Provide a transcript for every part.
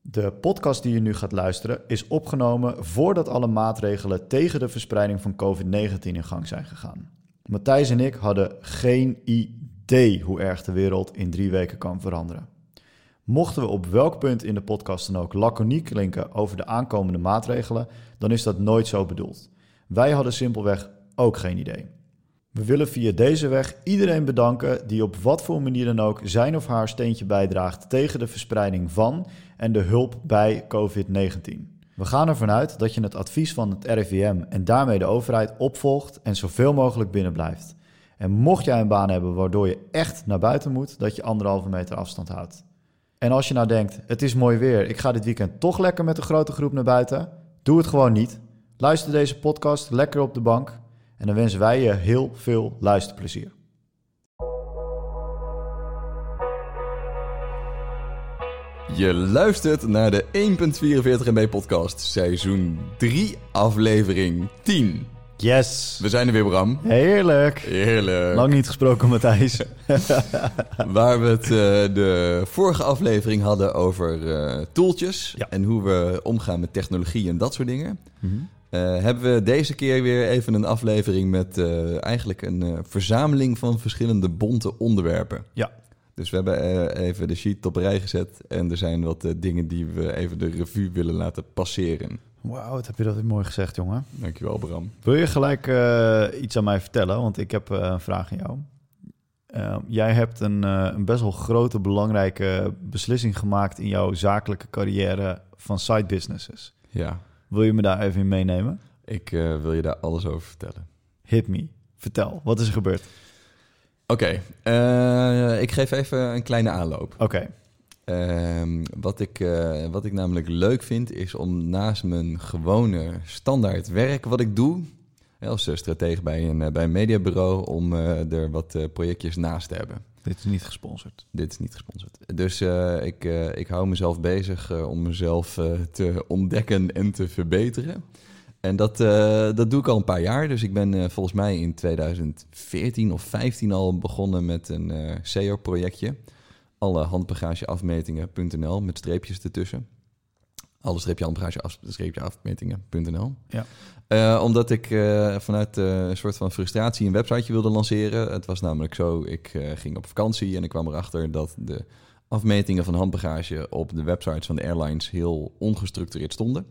De podcast die je nu gaat luisteren is opgenomen voordat alle maatregelen tegen de verspreiding van COVID-19 in gang zijn gegaan. Matthijs en ik hadden geen idee hoe erg de wereld in drie weken kan veranderen. Mochten we op welk punt in de podcast dan ook laconiek klinken over de aankomende maatregelen, dan is dat nooit zo bedoeld. Wij hadden simpelweg ook geen idee. We willen via deze weg iedereen bedanken die op wat voor manier dan ook zijn of haar steentje bijdraagt tegen de verspreiding van en de hulp bij COVID-19. We gaan ervan uit dat je het advies van het RIVM en daarmee de overheid opvolgt en zoveel mogelijk binnen blijft. En mocht jij een baan hebben waardoor je echt naar buiten moet, dat je anderhalve meter afstand houdt. En als je nou denkt, het is mooi weer, ik ga dit weekend toch lekker met een grote groep naar buiten, doe het gewoon niet. Luister deze podcast lekker op de bank en dan wensen wij je heel veel luisterplezier. Je luistert naar de 1.44 MB podcast, seizoen 3, aflevering 10. Yes! We zijn er weer, Bram. Heerlijk! Heerlijk. Lang niet gesproken, Matthijs. Waar we het eh, de vorige aflevering hadden over eh, toeltjes Ja. en hoe we omgaan met technologie en dat soort dingen. eh, hebben we deze keer weer even een aflevering met eh, eigenlijk een eh, verzameling van verschillende bonte onderwerpen. Ja. Dus we hebben eh, even de sheet op rij gezet en er zijn wat eh, dingen die we even de revue willen laten passeren. Wauw, wat heb je dat weer mooi gezegd, jongen. Dankjewel, Bram. Wil je gelijk eh, iets aan mij vertellen? Want ik heb eh, een vraag aan jou. Eh, jij hebt een, eh, een best wel grote, belangrijke beslissing gemaakt in jouw zakelijke carrière van side businesses. Ja, Wil je me daar even in meenemen? ik eh, wil je daar alles over vertellen. Hit me. Vertel, wat is er gebeurd? Oké, eh, ik geef even een kleine aanloop. Oké. Ehm, wat, ik, eh, wat ik namelijk leuk vind, is om naast mijn gewone standaard werk wat ik doe, hè, als eh, stratege bij een, eh, bij een mediabureau, om eh, er wat eh, projectjes naast te hebben. Dit is niet gesponsord. Dit is niet gesponsord. Dus eh, ik, eh, ik hou mezelf bezig eh, om mezelf eh, te ontdekken en te verbeteren. En dat, eh, dat doe ik al een paar jaar. Dus ik ben eh, volgens mij in 2014 of 15 al begonnen met een eh, SEO-projectje. Alle handbagageafmetingen.nl met streepjes ertussen. Alle streepje handbagage af, streepje afmetingen.nl. Ja. Eh, omdat ik eh, vanuit eh, een soort van frustratie een websiteje wilde lanceren. Het was namelijk zo, ik eh, ging op vakantie en ik kwam erachter dat de afmetingen van handbagage op de websites van de airlines heel ongestructureerd stonden.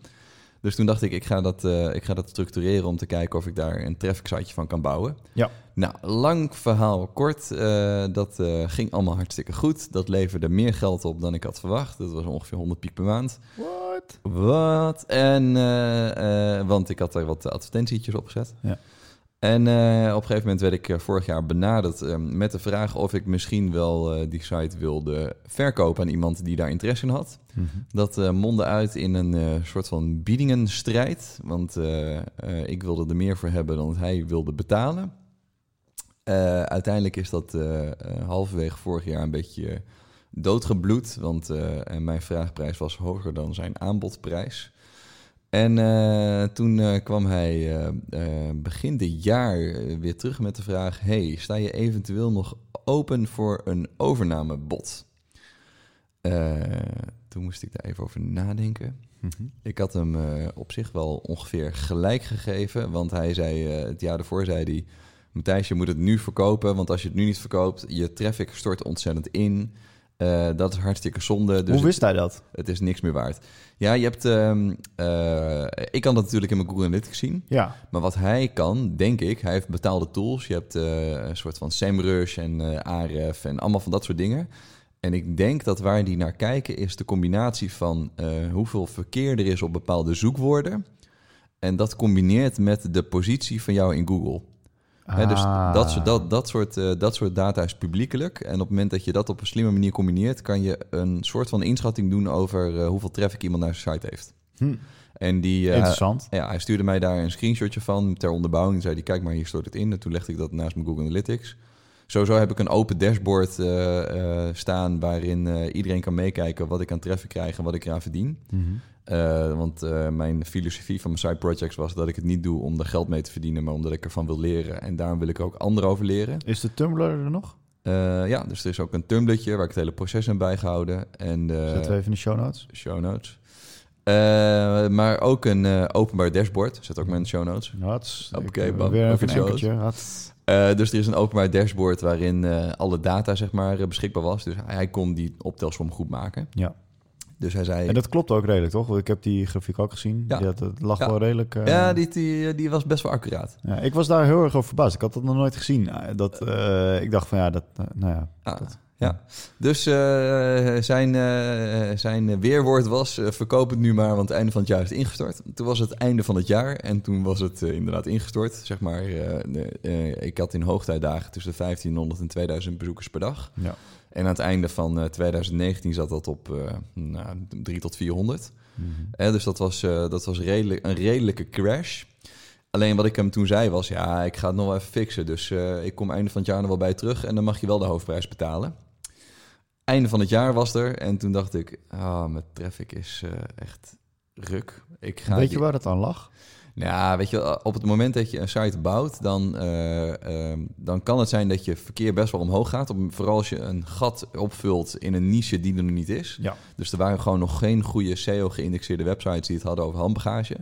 Dus toen dacht ik, ik ga dat, eh, ik ga dat structureren om te kijken of ik daar een traffic siteje van kan bouwen. Ja. Nou, lang verhaal kort. eh, dat eh, ging allemaal hartstikke goed. Dat leverde meer geld op dan ik had verwacht. Dat was ongeveer 100 piek per maand. What? Wat? En, eh, eh, want ik had er wat advertentietjes op gezet. Ja. En eh, op een gegeven moment werd ik eh, vorig jaar benaderd eh, met de vraag of ik misschien wel eh, die site wilde verkopen aan iemand die daar interesse in had. Mhm. Dat eh mondde uit in een eh, soort van biedingenstrijd. Want eh, eh, ik wilde er meer voor hebben dan hij wilde betalen. Eh, uiteindelijk is dat eh, eh, halverwege vorig jaar een beetje eh, doodgebloed. Want eh, en mijn vraagprijs was hoger dan zijn aanbodprijs. En eh, toen eh, kwam hij eh, eh, begin dit jaar eh, weer terug met de vraag: Hey, sta je eventueel nog open voor een overnamebod? Eh, toen moest ik daar even over nadenken. Mhm. Ik had hem eh, op zich wel ongeveer gelijk gegeven. Want hij zei eh, het jaar daarvoor zei hij. Matthijs, je moet het nu verkopen. Want als je het nu niet verkoopt, je traffic stort ontzettend in. Eh, dat is hartstikke zonde. Dus Hoe wist hij dat? het is niks meer waard. Ja, je hebt. ehm, eh, ik kan dat natuurlijk in mijn Google Analytics zien. Ja. Maar wat hij kan, denk ik, hij heeft betaalde tools. Je hebt eh, een soort van SEMrush en eh Ahref en allemaal van dat soort dingen. En ik denk dat waar die naar kijken is de combinatie van eh, hoeveel verkeer er is op bepaalde zoekwoorden. En dat combineert met de positie van jou in Google. Hè, dus Ah. dat, soort- dat, dat, soort, eh, dat soort data is publiekelijk. En op het moment dat je dat op een slimme manier combineert, kan je een soort van inschatting doen over eh, hoeveel traffic iemand naar zijn site heeft. Hm. En die, eh, Interessant. ja, hij stuurde mij daar een screenshotje van ter onderbouwing. En zei hij, kijk maar, hier stort het in. En toen legde ik dat naast mijn Google Analytics. Sowieso heb ik een open dashboard eh, eh, staan waarin eh, iedereen kan meekijken wat ik aan traffic krijg en wat ik eraan verdien. Eh, want eh, mijn filosofie van mijn side projects was dat ik het niet doe om er geld mee te verdienen, maar omdat ik ervan wil leren. En daarom wil ik er ook anderen over leren. Is de Tumblr er nog? Eh, ja, dus er is ook een tumbletje waar ik het hele proces in bijgehouden. En, eh, Zetten we even in de show notes. show notes. Eh, maar ook een eh, openbaar dashboard. Zet ook mijn show notes. Hats. Hoppakee, Ik- eh, bam. Weer Ook even in een de enkeltje. Hats. Eh, dus er is een openbaar dashboard waarin eh, alle data zeg maar, eh, beschikbaar was. Dus hij, hij kon die optelsom goed maken. Ja. Dus hij zei... En dat klopt ook redelijk, toch? Want ik heb die grafiek ook gezien. Ja. Ja. dat, dat lag Ja. wel redelijk... eh, ja, die, die, die was best wel accuraat. ja, ik was daar heel erg over verbaasd. Ik had dat nog nooit gezien. Eh, Dat, eh, ik dacht van ja, dat, eh, nou ja. Ah, Dat- ja. Dus eh, zijn, eh, zijn weerwoord was: eh, verkoop het nu maar, want het einde van het jaar is het ingestort. Toen was het einde van het jaar en toen was het eh, inderdaad ingestort. Zeg maar, eh, de- eh, ik had in hoogtijdagen tussen de 1500 en 2000 bezoekers per dag. Ja. En aan het einde van eh, 2019 zat dat op eh nou, 3 tot 400. Hè, dus dat was, eh, dat was redelijk, een redelijke crash. Alleen wat ik hem toen zei was, ja, ik ga het nog wel even fixen. Dus eh, ik kom einde van het jaar nog wel bij terug en dan mag je wel de hoofdprijs betalen. Einde van het jaar was er en toen dacht ik, ah, mijn traffic is eh, echt ruk. Ik ga Weet die- je waar dat aan lag? nou, ja, weet je, op het moment dat je een site bouwt, dan, eh, ehm, dan kan het zijn dat je verkeer best wel omhoog gaat. Om- vooral als je een gat opvult in een niche die er nog niet is. Ja. Dus er waren gewoon nog geen goede SEO-geïndexeerde websites die het hadden over handbagage.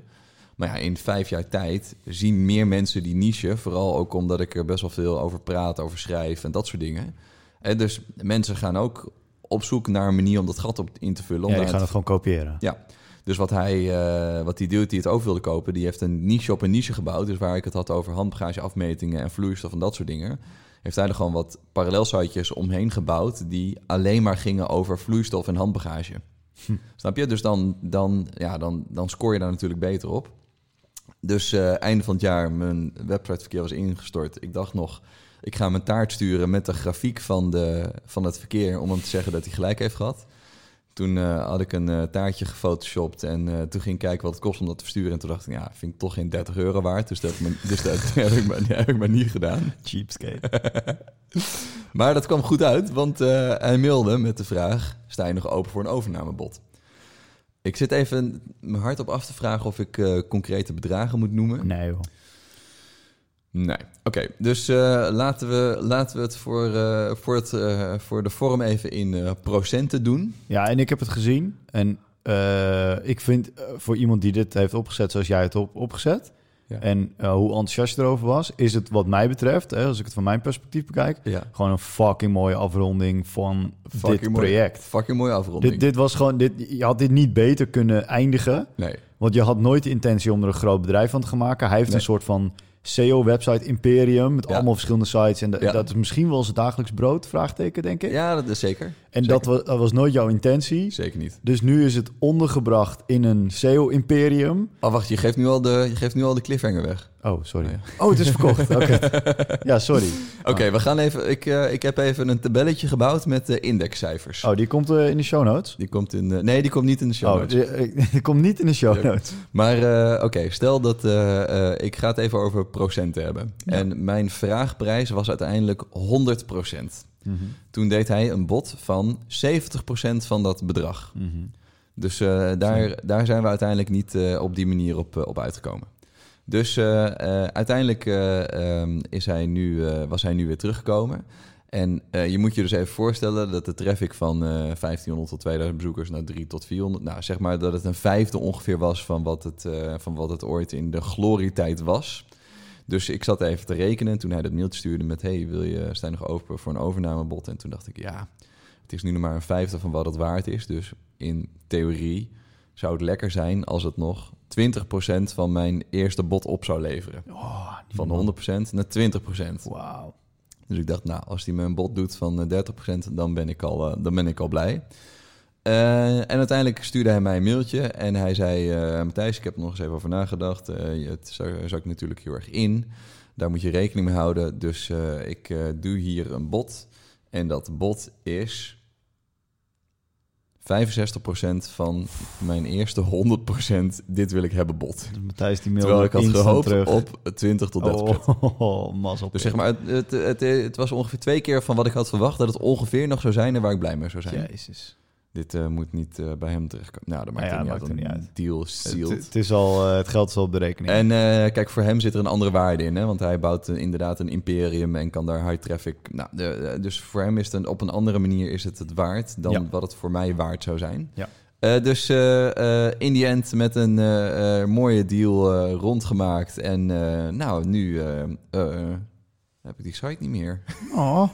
Maar ja, in vijf jaar tijd zien meer mensen die niche. Vooral ook omdat ik er best wel veel over praat, over schrijf en dat soort dingen. En dus mensen gaan ook op zoek naar een manier om dat gat op in te vullen. om Ja, die daar gaan het gewoon kopiëren. ja. Dus wat, hij, eh, wat die dude die het ook wilde kopen, die heeft een niche op een niche gebouwd. Dus waar ik het had over handbagageafmetingen en vloeistof en dat soort dingen. Heeft hij er gewoon wat parallelsitejes omheen gebouwd die alleen maar gingen over vloeistof en handbagage. Snap je? Dus dan, dan, ja, dan, dan scoor je daar natuurlijk beter op. Dus eh, einde van het jaar, mijn websiteverkeer was ingestort. Ik dacht nog, ik ga mijn taart sturen met de grafiek van, de, van het verkeer... om hem te zeggen dat hij gelijk heeft gehad. Toen eh, had ik een eh, taartje gefotoshopt en eh, toen ging ik kijken wat het kost om dat te versturen. En toen dacht ik, ja, vind ik toch geen 30 euro waard. Dus dat heb ik maar, dus dat heb ik maar, heb ik maar niet gedaan. Cheapskate. Maar dat kwam goed uit, want eh, hij mailde met de vraag... sta je nog open voor een overnamebod? Ik zit even mijn hart op af te vragen of ik eh, concrete bedragen moet noemen. Nee joh. Nee. Oké, dus eh, laten, we, laten we het voor, eh, voor, het, eh, voor de vorm even in eh, procenten doen. Ja, en ik heb het gezien. En eh, ik vind eh, voor iemand die dit heeft opgezet zoals jij het op, opgezet... Ja. en eh, hoe enthousiast je erover was... is het wat mij betreft, hè, als ik het van mijn perspectief bekijk... Ja. gewoon een fucking mooie afronding van Fucking dit mooi. project. Fucking mooie afronding. Dit, dit was gewoon, dit, je had dit niet beter kunnen eindigen... Nee. want je had nooit de intentie om er een groot bedrijf van te gaan maken. Hij heeft Nee. een soort van SEO-website imperium... met Ja. allemaal verschillende sites. En de- Ja. dat is misschien wel zijn dagelijks brood, vraagteken, denk ik. Ja, dat is zeker. En dat was, dat was nooit jouw intentie. Zeker niet. Dus nu is het ondergebracht in een SEO-imperium. Oh, wacht, je geeft nu al de, je geeft nu al de cliffhanger weg. Oh, sorry. Oh, Oh, het is verkocht. Oké. Ja, sorry. Oké, Ah. we gaan even. Ik, eh, ik heb even een tabelletje gebouwd met de indexcijfers. Oh, die komt eh, in de show notes? Die komt in. eh, nee, die komt niet in de show. Oh, notes. die, eh, die komt niet in de show Ja. notes. Maar eh, oké, stel dat eh, eh, ik ga het even over procenten hebben. En mijn vraagprijs was uiteindelijk 100 Toen deed hij een bod van 70 van dat bedrag. Mhm. Dus eh, daar, daar zijn we uiteindelijk niet eh, op die manier op, eh, op uitgekomen. Dus eh, eh, uiteindelijk eh, ehm, is hij nu, eh, was hij nu weer teruggekomen. En eh, je moet je dus even voorstellen dat de traffic van eh, 1500 tot 2000 bezoekers naar 3 tot 400, nou zeg maar dat het een vijfde ongeveer was van wat het, eh, van wat het ooit in de glorietijd was. Dus ik zat even te rekenen toen hij dat mailtje stuurde met: Hey, wil je, sta je nog open voor een overnamebod? En toen dacht ik: Ja, het is nu nog maar een vijfde van wat het waard is. Dus in theorie zou het lekker zijn als het nog 20% van mijn eerste bod op zou leveren. Oh, die Van man. 100% naar 20%. Wauw. Dus ik dacht, nou, als hij me een bod doet van eh, 30%, dan ben ik al, eh, dan ben ik al blij. Eh, en uiteindelijk stuurde hij mij een mailtje en hij zei... eh, Matthijs, ik heb er nog eens even over nagedacht. Eh, je- het zou- zak natuurlijk heel erg in. Daar moet je rekening mee houden. Dus eh, ik eh, doe hier een bod. En dat bod is 65% van mijn eerste 100% dit wil ik hebben bod. Dus Matthijs die mailde Terwijl ik had instant gehoopt terug. op 20 tot 30%. Oh, mazzel. Dus zeg maar, het, het, het, het was ongeveer twee keer van wat ik had verwacht dat het ongeveer nog zou zijn en waar ik blij mee zou zijn. Jezus. Dit eh, moet niet eh, bij hem terechtkomen. Nou, dat maakt, Nou ja, er niet, dat uit. maakt er Een niet Deal Het, sealed. het is al, eh, het geld is al op de rekening. En eh, kijk, voor hem zit er een andere waarde in. Hè? Want hij bouwt eh, inderdaad een imperium en kan daar high traffic. Nou, de, de- dus voor hem is het een- op een andere manier is het het waard dan Ja. wat het voor mij waard zou zijn. Ja. Eh, dus eh, eh, in die end met een eh, eh, mooie deal eh, rondgemaakt. En eh, nou, nu eh, eh, heb ik die site niet meer. Oh.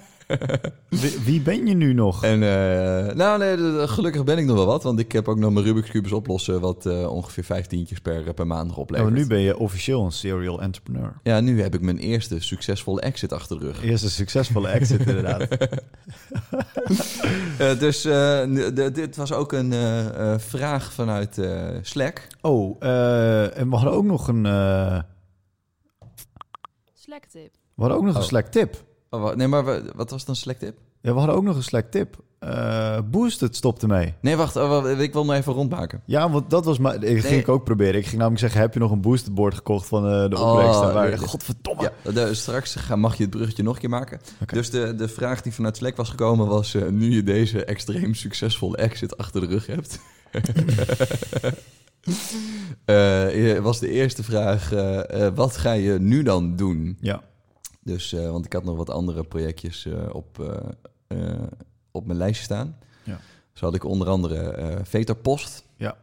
wie, wie ben je nu nog? En eh, nou, nee, d- d- gelukkig ben ik nog wel wat. Want ik heb ook nog mijn Rubik's Cubes oplossen. Wat eh, ongeveer vijftientjes per, per maand nog Nou, oplevert. maar nu ben je officieel een serial entrepreneur. Ja, nu heb ik mijn eerste succesvolle exit achter de rug. Eerst een succesvolle exit inderdaad. Eh, dus eh, n- d- dit was ook een eh, eh, vraag vanuit eh, Slack. Oh, eh, en we hadden ook nog een, eh, Slack tip. we hadden ook nog een Oh. Slack tip. Oh, wa- nee, maar wa- wat was dan Slack tip? Ja, we hadden ook nog een Slack tip. Eh Boosted stopte mee. Nee, wacht, oh, wa- ik wil nog even rondmaken. Ja, want dat was maar. Ik ging Nee. ik ook proberen. Ik ging namelijk zeggen: heb je nog een boosted board gekocht van eh, de Oh, opbrengsten? maar, nee. godverdomme. Ja, de- straks ga- mag je het bruggetje nog een keer maken. Oké. Dus de, de vraag die vanuit Slack was gekomen was... eh, nu je deze extreem succesvolle exit achter de rug hebt... eh, eh, was de eerste vraag... eh, eh, wat ga je nu dan doen? Ja. Dus, eh, want ik had nog wat andere projectjes eh, op, eh, eh, op mijn lijstje staan. Ja. Zo had ik onder andere eh Veterpost. Ja.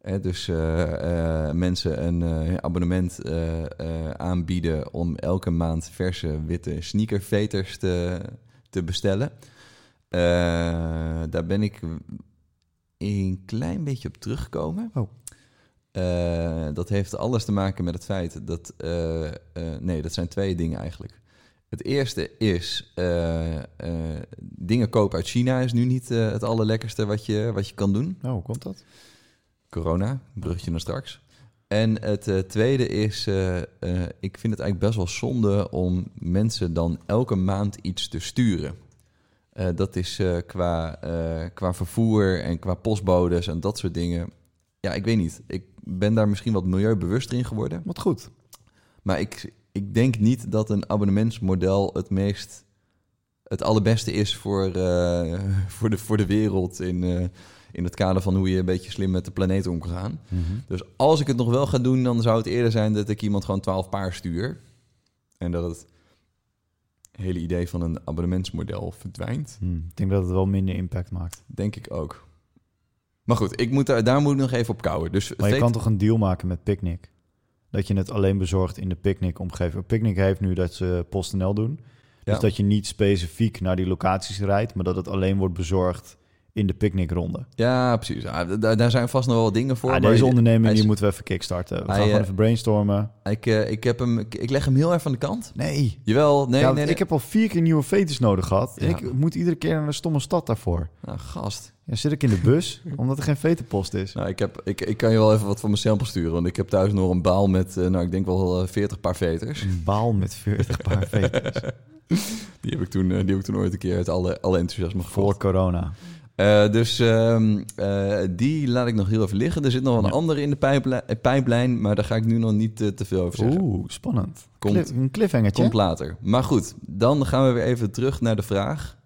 Eh, dus eh, eh, mensen een eh, abonnement eh, eh, aanbieden om elke maand verse witte sneakerveters te, te bestellen. Eh, daar ben ik een klein beetje op teruggekomen. Oh. Eh, dat heeft alles te maken met het feit dat. eh, eh, nee, dat zijn twee dingen eigenlijk. Het eerste is. eh, eh, dingen kopen uit China is nu niet eh, het allerlekkerste wat je, wat je kan doen. Nou, hoe komt dat? Corona, bruggetje naar straks. En het eh, tweede is. eh, eh, ik vind het eigenlijk best wel zonde om mensen dan elke maand iets te sturen. Eh, dat is eh, qua, eh, qua vervoer en qua postbodes en dat soort dingen. Ja, ik weet niet. Ik ben daar misschien wat milieubewuster in geworden. Wat goed. Maar ik, ik denk niet dat een abonnementsmodel het meest. het allerbeste is voor, eh, voor, de, voor de wereld. In, eh, in het kader van hoe je een beetje slim met de planeet om kan gaan. Dus als ik het nog wel ga doen, dan zou het eerder zijn dat ik iemand gewoon 12 paar stuur. En dat het hele idee van een abonnementsmodel verdwijnt. Hmm, Ik denk dat het wel minder impact maakt. Denk ik ook. Maar goed, ik moet daar, daar moet ik nog even op kouwen. Dus Maar je Veter- kan toch een deal maken met Picnic? Dat je het alleen bezorgt in de Picnic-omgeving. Picnic heeft nu dat ze PostNL doen. Dus Ja. dat je niet specifiek naar die locaties rijdt, maar dat het alleen wordt bezorgd in de Picnic-ronde. Ja, precies. Ah, d- daar, daar zijn vast nog wel dingen voor. Ah, maar deze onderneming hij die is- moeten we even kickstarten. We gaan Hij, gewoon eh, even brainstormen. ik, eh, ik, heb hem, ik, ik leg hem heel even aan de kant. Nee, Jawel, nee, ja, want nee, nee. Ik heb al vier keer nieuwe veters nodig gehad. En Ja. ik moet iedere keer naar een stomme stad daarvoor. Nou, gast. Ja, zit ik in de bus, omdat er geen veterpost is. Nou, ik, heb, ik, ik kan je wel even wat van mijn sample sturen. Want ik heb thuis nog een baal met, eh, nou, ik denk wel eh, 40 paar veters. Een baal met 40 paar veters. Die heb ik toen, eh, die heb ik toen ooit een keer uit alle, alle enthousiasme gevoerd. Voor corona. Eh, dus ehm, eh, die laat ik nog heel even liggen. Er zit nog een Ja. andere in de pijplijn, eh, pijplijn, maar daar ga ik nu nog niet eh, te veel over zeggen. Oeh, spannend. Komt. Cliff- een cliffhangertje. Komt later. Maar goed, dan gaan we weer even terug naar de vraag.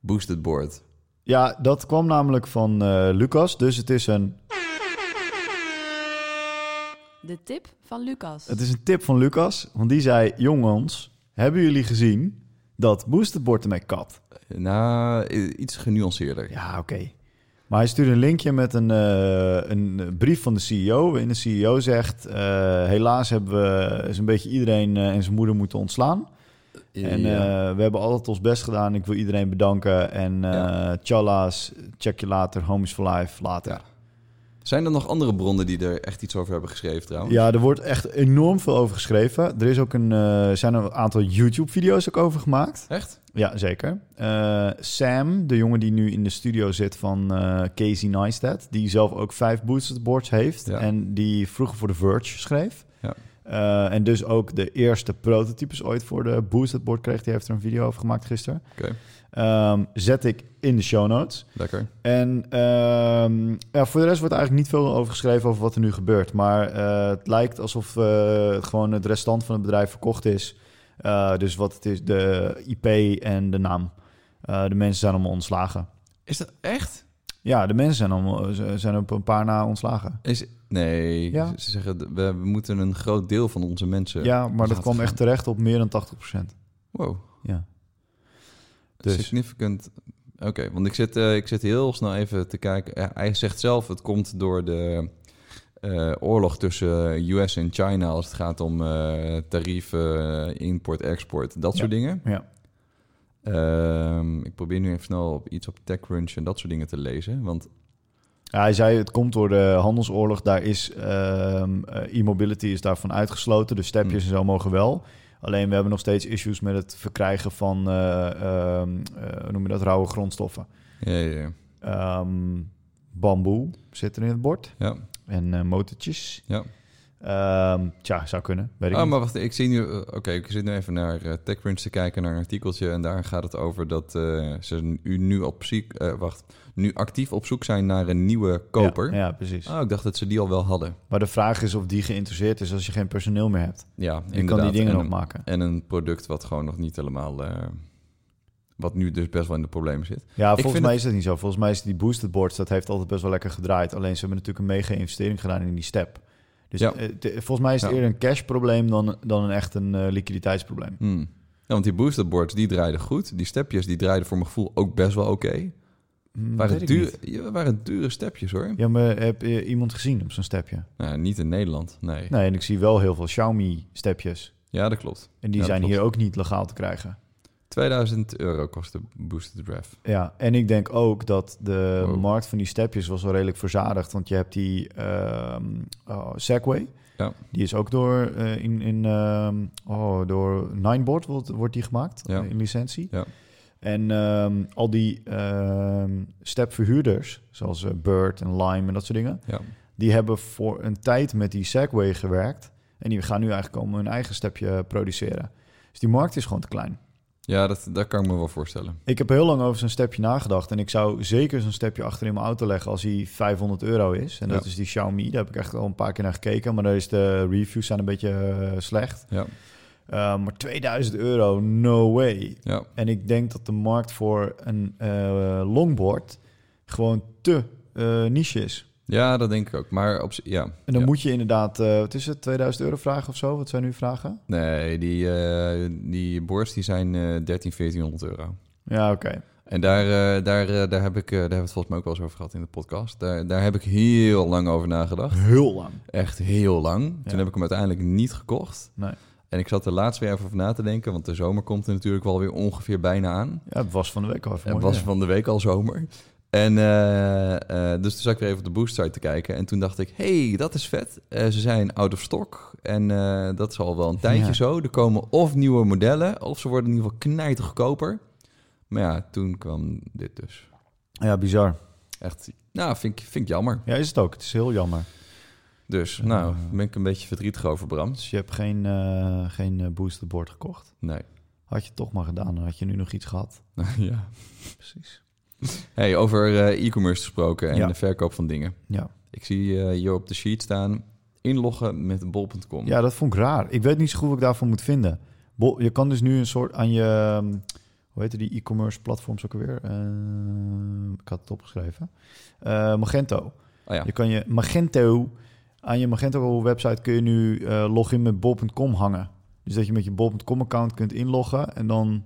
Boosted board. ja, dat kwam namelijk van eh, Lucas. Dus het is, een, De tip van Lucas. het is een tip van Lucas. Want die zei, jongens, hebben jullie gezien dat Boosterbord ermee kapt? Nou, i- iets genuanceerder. Ja, oké. Maar hij stuurde een linkje met een, eh, een eh, brief van de CEO. Waarin de CEO zegt: eh, Helaas hebben we zo'n beetje iedereen eh, en zijn moeder moeten ontslaan. En eh, we hebben altijd ons best gedaan. Ik wil iedereen bedanken. En eh Ja. tjalla's, check je later. Homies for life, later. Ja. Zijn er nog andere bronnen die er echt iets over hebben geschreven trouwens? Ja, er wordt echt enorm veel over geschreven. Er is ook een, eh, zijn een aantal YouTube-video's ook over gemaakt. Echt? Ja, zeker. Eh, Sam, de jongen die nu in de studio zit van eh, Casey Neistat... die zelf ook vijf boosted boards heeft... Ja. en die vroeger voor de Verge schreef. Ja. Eh, en dus ook de eerste prototypes ooit voor de boosted board kreeg. Die heeft er een video over gemaakt gisteren. Oké, Ehm, zet ik in de show notes. lekker. En ehm, ja, voor de rest wordt eigenlijk niet veel over geschreven over wat er nu gebeurt. Maar eh, het lijkt alsof eh, het gewoon het restant van het bedrijf verkocht is. Eh, dus wat het is, de IP en de naam. Eh, de mensen zijn allemaal ontslagen. Is dat echt? Ja, de mensen zijn, allemaal, eh, zijn op een paar na ontslagen. Is, nee, Ja. ze zeggen d- we, we moeten een groot deel van onze mensen. Ja, maar dat laten kwam gaan. echt terecht op meer dan 80%. Wow, Ja. Dus significant. Oké, want ik zit, eh, ik zit heel snel even te kijken. Ja, hij zegt zelf, het komt door de eh, oorlog tussen US en China als het gaat om eh, tarieven, eh, import, export, dat Ja. soort dingen. ja. Ehm, ik probeer nu even snel op iets op TechCrunch en dat soort dingen te lezen. Want Ja, hij zei het komt door de handelsoorlog. Daar is ehm, eh, e-mobility is daarvan uitgesloten. Dus stepjes Hmm. en zo mogen wel. Alleen we hebben nog steeds issues met het verkrijgen van, eh, ehm, eh, hoe noem je dat, rauwe grondstoffen. ja, ja, ja. Ehm, bamboe zit er in het bord. Ja. En eh motortjes. Ja. Ehm, tja, zou kunnen. Weet ik Oh, niet. maar wacht, ik zie nu. eh, Oké, ik zit nu even naar eh, TechCrunch te kijken, naar een artikeltje. En daar gaat het over dat eh, ze u nu, op ziek, eh, wacht, nu actief op zoek zijn naar een nieuwe koper. Ja, ja, precies. Oh, ik dacht dat ze die al wel hadden. Maar de vraag is of die geïnteresseerd is als je geen personeel meer hebt. Ja, Je kan die dingen en, nog maken. en een product wat gewoon nog niet helemaal. eh, wat nu dus best wel in de problemen zit. Ja, vind volgens mij is dat niet zo. Volgens mij is die boosted boards, dat heeft altijd best wel lekker gedraaid. Alleen ze hebben natuurlijk een mega investering gedaan in die step. Dus Ja. eh, de- volgens mij is het Ja. eerder een cash probleem dan, dan een echt een eh, liquiditeitsprobleem. Hmm. Ja, want die boosterboards die draaiden goed. Die stepjes die draaiden voor mijn gevoel ook best wel oké. Hm, weet Waren, ik duur, niet. ja, waren dure stepjes hoor. Ja, maar heb je iemand gezien op zo'n stepje? Nou, niet in Nederland, nee. Nee, en ik zie wel heel veel Xiaomi stepjes. Ja, dat klopt. En die Ja, zijn klopt. hier ook niet legaal te krijgen. 2000 euro kost de Boosted Draft. Ja, en ik denk ook dat de Wow. markt van die stepjes was wel redelijk verzadigd. Want je hebt die ehm oh, Segway. Ja. Die is ook door, eh, in, in, ehm, oh, door Nineboard wordt, wordt die gemaakt eh, Ja. in licentie. Ja. En ehm, al die ehm, stepverhuurders, zoals eh, Bird en Lime en dat soort dingen... Ja. die hebben voor een tijd met die Segway gewerkt. En die gaan nu eigenlijk allemaal hun eigen stepje produceren. Dus die markt is gewoon te klein. Ja, dat, dat kan ik me wel voorstellen. Ik heb heel lang over zo'n stepje nagedacht. En ik zou zeker zo'n stepje achter in mijn auto leggen als hij 500 euro is. En dat Ja. is die Xiaomi. Daar heb ik echt al een paar keer naar gekeken. Maar daar is de reviews zijn een beetje eh, slecht. Ja. Eh, maar 2000 euro, no way. Ja. En ik denk dat de markt voor een eh, longboard gewoon te eh, niche is. ja, dat denk ik ook. Maar op z- ja. En dan Ja. moet je inderdaad, eh, wat is het, 2000 euro vragen of zo? Wat zijn nu vragen? Nee, die, eh, die boards die zijn eh 13, 1400 euro. Ja, oké. En daar, eh, daar, eh, daar, heb ik, eh, daar hebben we het volgens mij ook wel eens over gehad in de podcast. Daar, daar heb ik heel lang over nagedacht. Heel lang. Echt heel lang. Ja. Toen heb ik hem uiteindelijk niet gekocht. Nee. En ik zat er laatst weer even over na te denken, want de zomer komt er natuurlijk wel weer ongeveer bijna aan. Ja, het was van de week al even Het mooi was weer. van de week al zomer. En eh, eh, dus toen zat ik weer even op de boost site te kijken. En toen dacht ik, hey, dat is vet. Eh, ze zijn out of stock. En eh, dat is al wel een tijdje Ja. zo. Er komen of nieuwe modellen, of ze worden in ieder geval knijter goedkoper. Maar ja, toen kwam dit dus. Ja, bizar. Echt, nou, vind ik, vind ik jammer. Ja, is het ook. Het is heel jammer. Dus, Ja. nou, daar ben ik een beetje verdrietig over, Bram. Dus je hebt geen, eh, geen eh, boosterboard gekocht. Nee. Had je het toch maar gedaan, dan had je nu nog iets gehad. ja. Precies. Hey, over eh, e-commerce gesproken en Ja. de verkoop van dingen. Ja. Ik zie eh, hier op de sheet staan, inloggen met bol.com. ja, dat vond ik raar. Ik weet niet zo goed wat ik daarvoor moet vinden. Bol, je kan dus nu een soort aan je... ehm, Hoe heet die e-commerce platforms ook alweer? Ehm, ik had het opgeschreven. Eh, Magento. Oh ja. Je kan je Magento... Aan je Magento website kun je nu eh, login met bol.com hangen. Dus dat je met je bol.com account kunt inloggen en dan...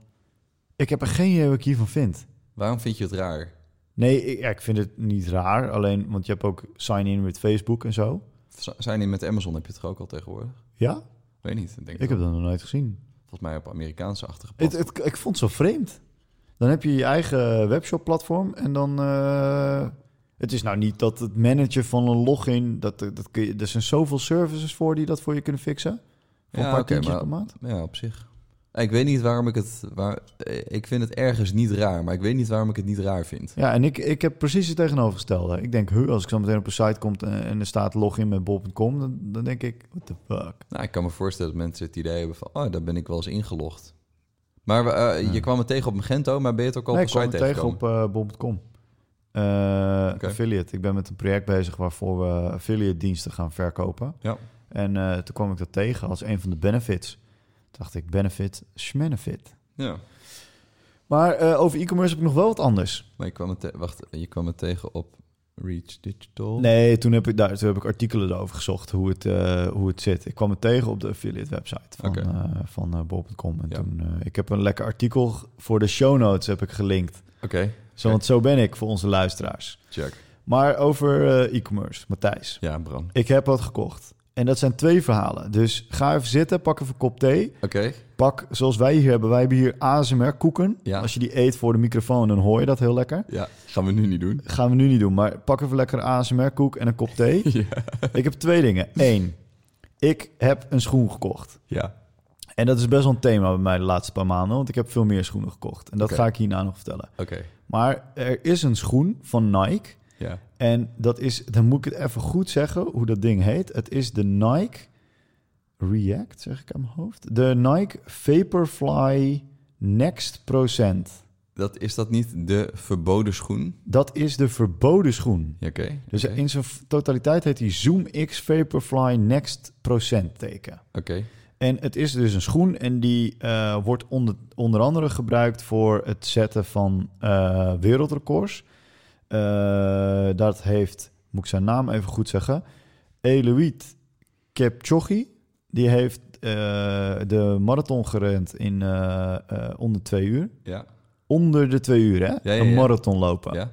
Ik heb er geen idee wat ik hiervan vind. Waarom vind je het raar? Nee, ik, ja, ik vind het niet raar. Alleen, want je hebt ook sign-in met Facebook en zo. Z- Zijn die met Amazon heb je het toch ook al tegenwoordig? Ja? Weet niet. Ik, denk Ik dat- heb dat nog nooit gezien. volgens mij op Amerikaanse achtige Het, platform. het, ik vond het zo vreemd. Dan heb je je eigen webshop-platform en dan... eh, het is nou niet dat het managen van een login... Dat, dat kun je, er zijn zoveel services voor die dat voor je kunnen fixen. Voor een paar oké, tientjes maar- per maand. Ja, op zich. Eh, Ik weet niet waarom ik het. Waar, eh, ik vind het ergens niet raar, maar ik weet niet waarom ik het niet raar vind. Ja, en ik, ik heb precies het tegenovergestelde. Ik denk, huh, als ik zo meteen op een site kom en, en er staat login met bol.com... Dan, dan denk ik, what the fuck? Nou, ik kan me voorstellen dat mensen het idee hebben van, oh, daar ben ik wel eens ingelogd. Maar we- eh, Ja. je kwam het tegen op Magento, maar ben je het ook al nee, op ik de kwam site hem tegen tegengekomen? op eh, bol.com. Eh, Affiliate. Ik ben met een project bezig waarvoor we affiliate diensten gaan verkopen. Ja. En eh, toen kwam ik dat tegen als een van de benefits. Toen dacht ik, benefit, schmenefit. Ja. Maar eh, over e-commerce heb ik nog wel wat anders. Maar je kwam het, te- wacht, je kwam het tegen op Reach Digital. Nee, toen heb ik, daar, toen heb ik artikelen erover gezocht hoe het, eh, hoe het zit. Ik kwam het tegen op de affiliate website van, Oké. eh, van eh, bol.com. En Ja. toen, eh, ik heb een lekker artikel g- voor de show notes heb ik gelinkt. Oké, Zo, want zo ben ik voor onze luisteraars. check. Maar over eh, e-commerce, Matthijs. Ja, Bram. Ik heb wat gekocht. En dat zijn twee verhalen. Dus ga even zitten, pak even een kop thee. Oké, Pak, zoals wij hier hebben, wij hebben hier ASMR-koeken. Ja. Als je die eet voor de microfoon, dan hoor je dat heel lekker. ja, gaan we nu niet doen. Gaan we nu niet doen, maar pak even lekker een ASMR-koek en een kop thee. ja. ik heb twee dingen. Eén, ik heb een schoen gekocht. ja, En dat is best wel een thema bij mij de laatste paar maanden, want ik heb veel meer schoenen gekocht. En dat Oké. ga ik hierna nog vertellen. oké. Maar er is een schoen van Nike. Ja, En dat is, dan moet ik het even goed zeggen hoe dat ding heet. Het is de Nike React, zeg ik aan mijn hoofd. De Nike Vaporfly Next Procent. dat, is dat niet de verboden schoen? Dat is de verboden schoen. Ja, oké. Dus oké, in zijn v- totaliteit heet die Zoom X Vaporfly Next Procent teken. Oké, En het is dus een schoen en die eh, wordt onder, onder andere gebruikt voor het zetten van eh, wereldrecords. Eh, dat heeft, moet ik zijn naam even goed zeggen, Eloïd Kipchoge. Die heeft eh, de marathon gerend in eh, eh, onder twee uur. ja, Onder de twee uur, hè? ja, Een ja. marathon lopen. ja.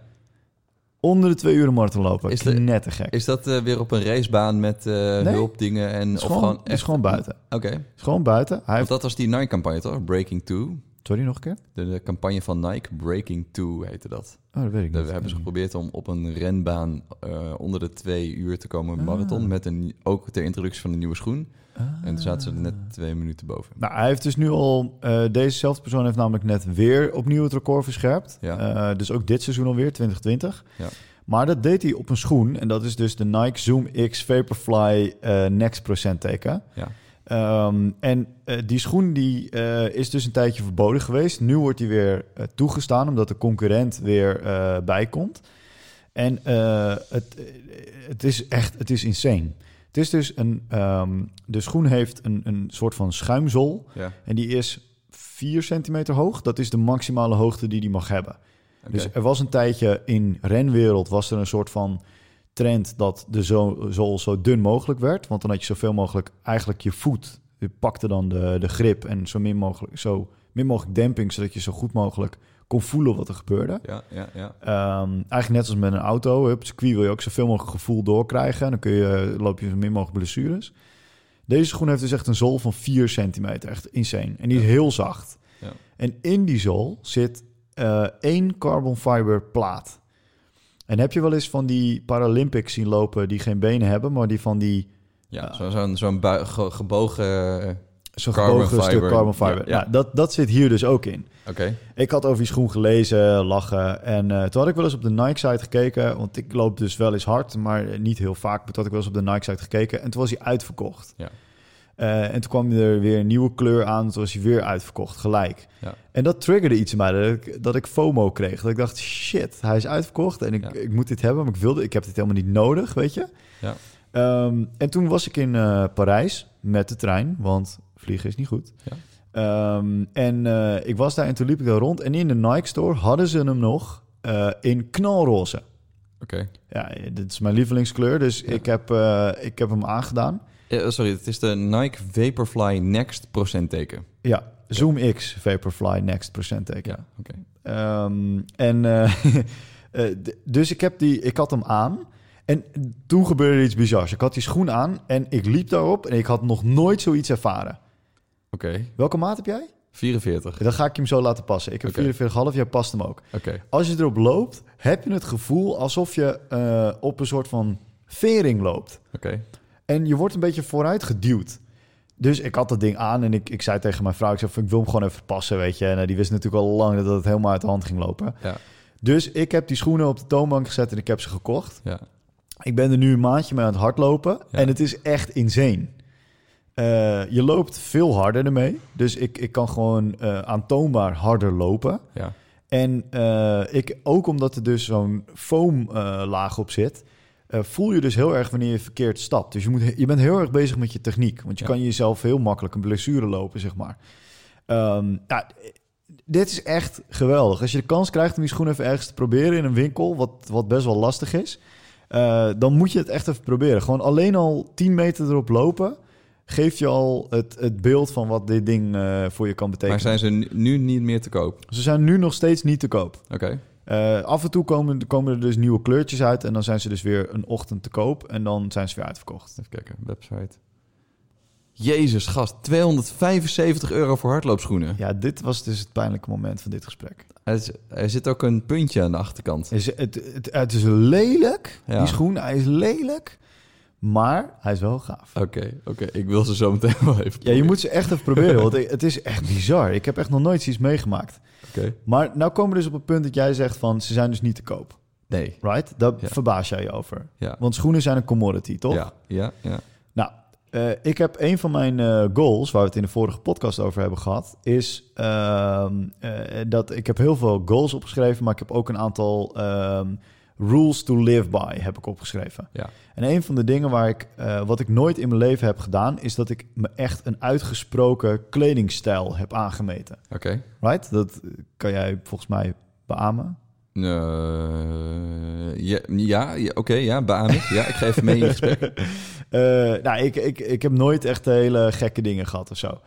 Onder de twee uur een marathon lopen. Is Is de- net te gek. Is dat eh, weer op een racebaan met eh, hulpdingen? En, Het is of gewoon, gewoon, het is echt... gewoon buiten. Oké, Het is gewoon buiten. Hij want heeft... dat was die Nike-campagne toch? Breaking 2. Sorry, nog een keer? De, de campagne van Nike, Breaking 2 heette dat. Oh, dat weet ik Daar niet. hebben ze geprobeerd om op een renbaan eh, onder de twee uur te Ah. komen marathon. Met een, ook ter introductie van een nieuwe schoen. Ah. En toen zaten ze er net twee minuten boven. Nou, hij heeft dus nu al... eh dezezelfde persoon heeft namelijk net weer opnieuw het record verscherpt. Ja. Eh, dus ook dit seizoen alweer, 2020. Ja. Maar dat deed hij op een schoen. En dat is dus de Nike Zoom X Vaporfly eh, Next Percent teken. Ja. Ehm, en eh, die schoen die, eh, is dus een tijdje verboden geweest. Nu wordt die weer eh, toegestaan, omdat de concurrent weer eh, bij komt. En eh, het, eh, het is echt, het is insane. Het is dus een, ehm, de schoen heeft een, een soort van schuimzol. ja. En die is 4 centimeter hoog. Dat is de maximale hoogte die die mag hebben. Oké. Dus er was een tijdje in renwereld was er een soort van trend dat de zo- zool zo dun mogelijk werd. Want dan had je zoveel mogelijk eigenlijk je voet. Je pakte dan de, de grip en zo min, mogelijk, zo min mogelijk demping, zodat je zo goed mogelijk kon voelen wat er gebeurde. ja, ja, ja. Ehm, eigenlijk net als met een auto. Op het circuit wil je ook zoveel mogelijk gevoel doorkrijgen. En dan kun je, loop je zo min mogelijk blessures. Deze schoen heeft dus echt een zool van 4 centimeter. Echt insane. En die is heel zacht. Ja. En in die zool zit eh, één carbon fiber plaat. En heb je wel eens van die Paralympics zien lopen die geen benen hebben, maar die van die ja. zo- Zo'n zo'n bui- ge- gebogen... eh, zo'n Carbon gebogen stuk fiber. carbon fiber. Ja, Ja, ja. dat, dat zit hier dus ook in. Oké, Ik had over die schoen gelezen, lachen. En eh, toen had ik wel eens op de Nike-site gekeken. Want ik loop dus wel eens hard, maar eh, niet heel vaak. Maar toen had ik wel eens op de Nike-site gekeken. En toen was hij uitverkocht. Ja. Eh, en toen kwam er weer een nieuwe kleur aan. Toen was hij weer uitverkocht, gelijk. Ja. En dat triggerde iets in mij, dat ik, dat ik FOMO kreeg. Dat ik dacht, shit, hij is uitverkocht. En ik, Ja. ik moet dit hebben, maar ik, wilde, ik heb dit helemaal niet nodig, weet je. Ja. Ehm, en toen was ik in eh, Parijs met de trein, want vliegen is niet goed. Ehm, en eh, ik was daar en toen liep ik daar rond. En in de Nike Store hadden ze hem nog eh, in knalroze. oké. Ja, dit is mijn lievelingskleur, dus Ja. ik, heb, eh, ik heb hem aangedaan. Eh, sorry, het is de Nike Vaporfly Next procentteken. Ja, Zoom X Vaporfly Next procent teken. Ja, oké. Ehm, en eh, eh, d- dus ik, heb die, ik had hem aan. En toen gebeurde er iets bizars. Ik had die schoen aan en ik liep daarop en ik had nog nooit zoiets ervaren. Oké, Welke maat heb jij? 44. Oké, Dan ga ik hem zo laten passen. Ik heb Oké. 44,5, jij past hem ook. Als je erop loopt, heb je het gevoel alsof je eh, op een soort van vering loopt. oké. En je wordt een beetje vooruit geduwd. Dus ik had dat ding aan en ik, ik zei tegen mijn vrouw... ik, zei, van, ik wil hem gewoon even passen, weet je. En eh, die wist natuurlijk al lang dat het helemaal uit de hand ging lopen. Ja, Dus ik heb die schoenen op de toonbank gezet en ik heb ze gekocht. ja. Ik ben er nu een maandje mee aan het hardlopen. Ja. En het is echt insane. Eh, je loopt veel harder ermee. Dus ik, ik kan gewoon eh, aantoonbaar harder lopen. ja. En eh, ik, ook omdat er dus zo'n foamlaag laag op zit, eh, voel je dus heel erg wanneer je verkeerd stapt. Dus je, moet, je bent heel erg bezig met je techniek. Want je Ja. kan jezelf heel makkelijk een blessure lopen, zeg maar. Ehm, ja, Dit is echt geweldig. Als je de kans krijgt om die schoen even ergens te proberen in een winkel, wat, wat best wel lastig is, eh, dan moet je het echt even proberen. Gewoon alleen al 10 meter erop lopen, geeft je al het, het beeld van wat dit ding eh, voor je kan Maar betekenen. zijn ze nu- nu niet meer te koop? Ze zijn nu nog steeds niet te koop. Oké. Eh, af en toe komen, komen er dus nieuwe kleurtjes uit en dan zijn ze dus weer een ochtend te koop en dan zijn ze weer uitverkocht. Even kijken, website. Jezus, gast, 275 euro voor hardloopschoenen. Ja, dit was dus het pijnlijke moment van dit gesprek. Er, is- er zit ook een puntje aan de achterkant. Het is, het, het, het is lelijk, Ja. die schoen, hij is lelijk, maar hij is wel gaaf. Oké, oké, ik wil ze zo meteen wel even. Ja, je proberen. moet ze echt even proberen, want het is echt bizar. Ik heb echt nog nooit iets meegemaakt. Oké. Maar nou komen we dus op het punt dat jij zegt van ze zijn dus niet te koop, Nee. right? Daar Ja. verbaas jij je over. Ja. Want schoenen zijn een commodity, toch? Ja, ja, ja. Nou, eh, ik heb een van mijn eh, goals, waar we het in de vorige podcast over hebben gehad, is ehm, eh, dat ik heb heel veel goals opgeschreven, maar ik heb ook een aantal ehm, rules to live by heb ik opgeschreven. Ja. En een van de dingen waar ik, eh, wat ik nooit in mijn leven heb gedaan, is dat ik me echt een uitgesproken kledingstijl heb aangemeten. Oké. Right? Dat kan jij volgens mij beamen. Eh, ja, ja, ja, oké, ja, beaam ik. Ja, ik ga even mee in gesprek. Eh, nou, ik, ik, ik heb nooit echt hele gekke dingen gehad of zo.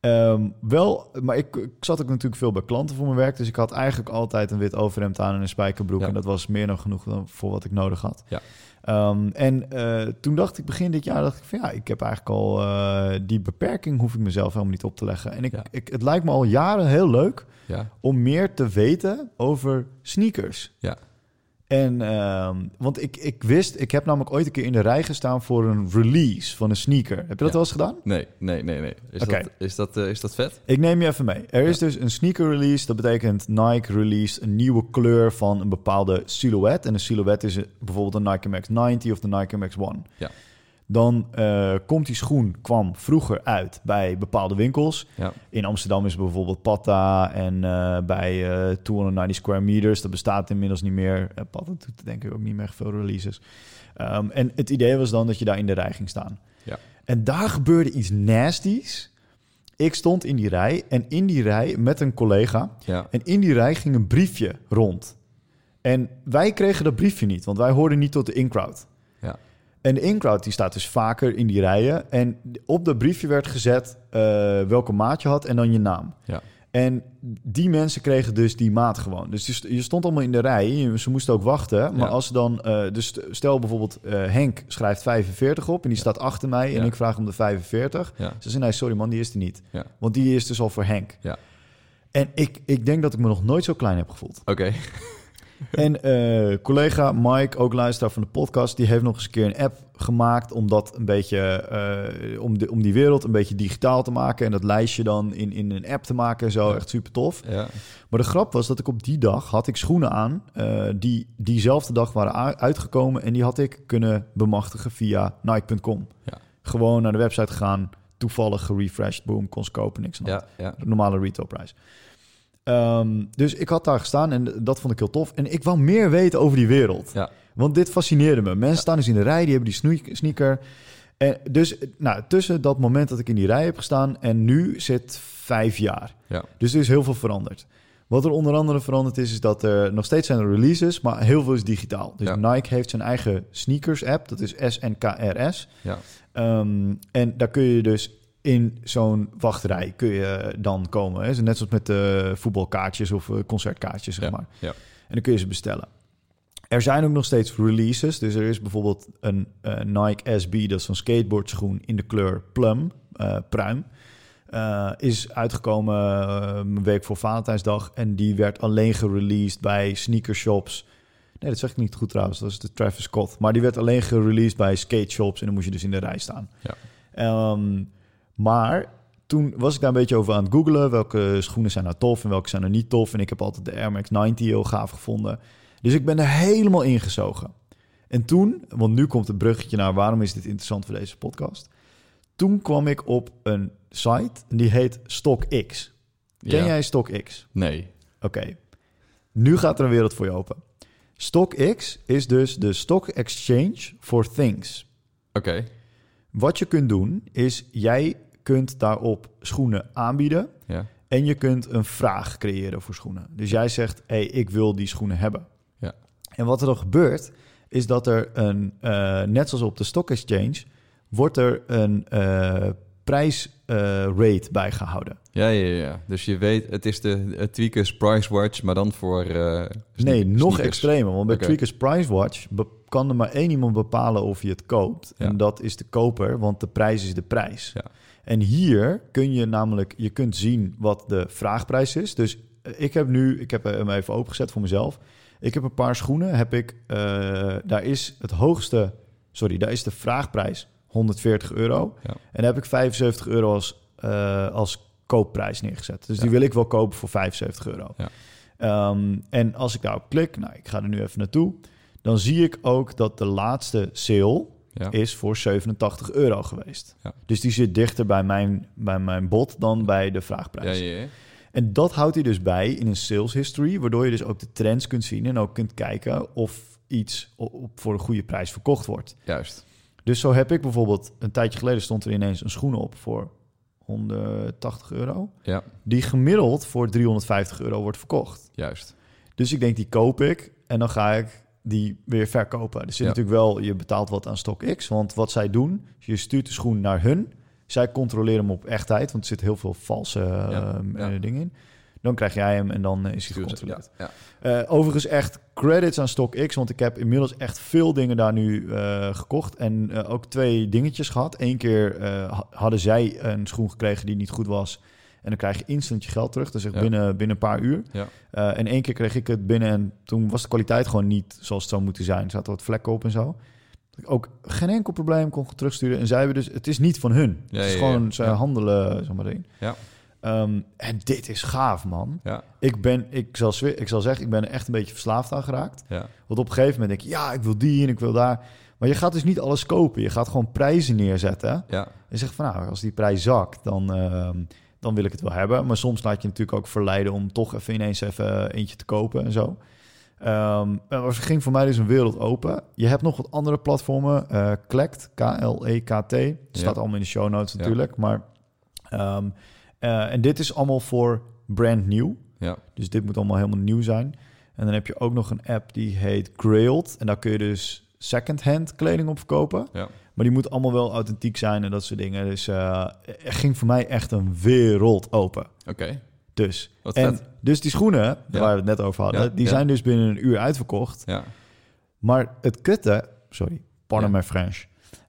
Ehm, wel, maar ik, ik zat ook natuurlijk veel bij klanten voor mijn werk. Dus ik had eigenlijk altijd een wit overhemd aan en een spijkerbroek. Ja. En dat was meer dan genoeg dan voor wat ik nodig had. Ja. Ehm, en eh, toen dacht ik begin dit jaar, dacht ik van ja, ik heb eigenlijk al eh, die beperking hoef ik mezelf helemaal niet op te leggen. En ik, Ja. ik, het lijkt me al jaren heel leuk Ja, om meer te weten over sneakers. Ja. En, ehm, want ik, ik wist, ik heb namelijk ooit een keer in de rij gestaan voor een release van een sneaker. Heb je dat Ja. wel eens gedaan? nee, nee, nee, nee. Is, Oké. dat, is, dat, eh, is dat vet? Ik neem je even mee. Er is dus een sneaker release. Dat betekent Nike release een nieuwe kleur van een bepaalde silhouet. En een silhouet is eh, bijvoorbeeld de Nike Max 90 of de Nike Max One. Ja. Dan eh, komt die schoen, kwam vroeger uit bij bepaalde winkels. Ja. In Amsterdam is er bijvoorbeeld Patta en eh, bij eh 290 Square Meters. Dat bestaat inmiddels niet meer. Eh, Patta doet denk ik ook niet meer echt veel releases. Ehm, en het idee was dan dat je daar in de rij ging staan. Ja. En daar gebeurde iets nasties. Ik stond in die rij en in die rij met een collega. Ja. En in die rij ging een briefje rond. En wij kregen dat briefje niet, want wij hoorden niet tot de in-crowd. Ja. En de in-crowd die staat dus vaker in die rijen. En op dat briefje werd gezet eh, welke maat je had en dan je naam. Ja. En die mensen kregen dus die maat gewoon. Dus je st- je stond allemaal in de rij. je- Ze moesten ook wachten. Maar Ja. als ze dan... eh, dus st- stel bijvoorbeeld eh, Henk schrijft 45 op... en die staat achter mij en Ja. ik vraag om de 45. Ja. Ze zei, nee, sorry man, die is er niet. Ja. Want die is dus al voor Henk. Ja. En ik, ik denk dat ik me nog nooit zo klein heb gevoeld. Oké. En eh, collega Mike, ook luisteraar van de podcast, die heeft nog eens een keer een app gemaakt om dat een beetje eh, om, de, om die wereld een beetje digitaal te maken. En dat lijstje dan in, in een app te maken en zo. Echt super tof. Ja. Maar de grap was dat ik op die dag had ik schoenen aan eh, die diezelfde dag waren a- uitgekomen. En die had ik kunnen bemachtigen via Nike.com. Ja. Gewoon naar de website gegaan, toevallig gerefreshed, boom, kon ze kopen, niks aan de hand Ja, ja. normale retailprijs. Ehm, dus ik had daar gestaan en dat vond ik heel tof. En ik wou meer weten over die wereld. Ja. Want dit fascineerde me. Mensen staan dus in de rij, die hebben die snoe- sneaker. En dus nou, tussen dat moment dat ik in die rij heb gestaan en nu zit vijf jaar. Ja. Dus er is heel veel veranderd. Wat er onder andere veranderd is, is dat er nog steeds zijn er releases, maar heel veel is digitaal. Dus Ja. Nike heeft zijn eigen sneakers-app, dat is SNKRS. Ja. Ehm, en daar kun je dus in zo'n wachtrij kun je dan komen. Hè? Dus Net zoals met eh, voetbalkaartjes of eh, concertkaartjes, zeg Ja. maar. Ja. En dan kun je ze bestellen. Er zijn ook nog steeds releases. Dus er is bijvoorbeeld een eh, Nike SB, dat is zo'n skateboardschoen in de kleur plum, eh, pruim. Eh, is uitgekomen eh, een week voor Valentijnsdag. En die werd alleen gereleased bij sneakershops. Nee, dat zeg ik niet goed trouwens. Dat is de Travis Scott. Maar die werd alleen gereleased bij skate shops. En dan moest je dus in de rij staan. Ja. Ehm, maar toen was ik daar een beetje over aan het googelen. Welke schoenen zijn nou tof en welke zijn er niet tof. En ik heb altijd de Air Max 90 heel gaaf gevonden. Dus ik ben er helemaal ingezogen. En toen, want nu komt het bruggetje naar waarom is dit interessant voor deze podcast. Toen kwam ik op een site en die heet StockX. Ken Ja. jij StockX? Nee. Oké, nu gaat er een wereld voor je open. StockX is dus de stock exchange for things. Oké. Wat je kunt doen is, jij kunt daarop schoenen aanbieden Ja. En je kunt een vraag creëren voor schoenen. Dus jij zegt, hé, hey, ik wil die schoenen hebben. Ja. En wat er dan gebeurt, is dat er een, eh, net zoals op de Stock Exchange, wordt er een eh, prijsrate bijgehouden. Ja, ja, ja. Dus je weet, het is de eh, Tweakers Price Watch, maar dan voor... eh, sne- nee, nog sneakers. extremer. Want bij Oké. Tweakers Price Watch be- kan er maar één iemand bepalen of je het koopt. Ja. En dat is de koper, want de prijs is de prijs. Ja. En hier kun je namelijk, je kunt zien wat de vraagprijs is. Dus eh, ik heb nu, ik heb eh, hem even opengezet voor mezelf. Ik heb een paar schoenen, heb ik, eh, daar is het hoogste, sorry, daar is de vraagprijs 140 euro. Ja. En daar heb ik 75 euro als, eh, als koopprijs neergezet. Dus die Ja. wil ik wel kopen voor 75 euro. Ja. Ehm, en als ik daarop klik, nou, ik ga er nu even naartoe, dan zie ik ook dat de laatste sale Ja. is voor 87 euro geweest. Ja. Dus die zit dichter bij mijn, bij mijn bod dan bij de vraagprijs. Ja, ja, ja. En dat houdt hij dus bij in een sales history, waardoor je dus ook de trends kunt zien en ook kunt kijken of iets o- op, voor een goede prijs verkocht wordt. Juist. Dus zo heb ik bijvoorbeeld, een tijdje geleden stond er ineens een schoen op voor 180 euro, Ja, die gemiddeld voor 350 euro wordt verkocht. juist. Dus ik denk, die koop ik en dan ga ik die weer verkopen. Dus zit Ja. natuurlijk wel, je betaalt wat aan StockX. Want wat zij doen, is je stuurt de schoen naar hun. Zij controleren hem op echtheid, want er zitten heel veel valse eh, Ja, ja. eh, dingen in. Dan krijg jij hem en dan eh, is hij Ja, gecontroleerd. ja. Eh, overigens echt credits aan StockX, want ik heb inmiddels echt veel dingen daar nu eh, gekocht. En eh, ook twee dingetjes gehad. Eén keer eh, ha- hadden zij een schoen gekregen die niet goed was. En dan krijg je instant je geld terug. Dat is echt Ja. binnen, binnen een paar uur. Ja. Eh, en één keer kreeg ik het binnen en toen was de kwaliteit gewoon niet zoals het zou moeten zijn. Er zaten wat vlekken op en zo. Dat ik ook geen enkel probleem kon terugsturen. En zij hebben dus, het is niet van hun. Ja, het is ja, gewoon, ja. ze Ja. handelen, zeg maar in. Ja. Ehm, en dit is gaaf, man. Ja. Ik ben, ik zal, zwe- ik zal zeggen, ik ben er echt een beetje verslaafd aan geraakt. Ja. Want op een gegeven moment denk je, ja, ik wil die en ik wil daar. Maar je gaat dus niet alles kopen. Je gaat gewoon prijzen neerzetten. Ja. En zegt van, nou, als die prijs zakt, dan, ehm, dan wil ik het wel hebben. Maar soms laat je natuurlijk ook verleiden om toch even ineens even eentje te kopen en zo. Ehm maar het ging voor mij dus een wereld open. Je hebt nog wat andere platformen. eh Klekt, K-L-E-K-T. Staat allemaal in de show notes Ja. natuurlijk. Maar, ehm, eh, en dit is allemaal voor brand nieuw. Ja. Dus dit moet allemaal helemaal nieuw zijn. En dan heb je ook nog een app die heet Grailed. En daar kun je dus second-hand kleding op verkopen. Ja. Maar die moet allemaal wel authentiek zijn en dat soort dingen. Dus eh, er ging voor mij echt een wereld open. Oké. Dus, Wat en, vet. dus die schoenen, Ja. waar we het net over hadden, Ja, die ja. zijn dus binnen een uur uitverkocht. Ja. Maar het kutte, sorry, pardon Ja. my French.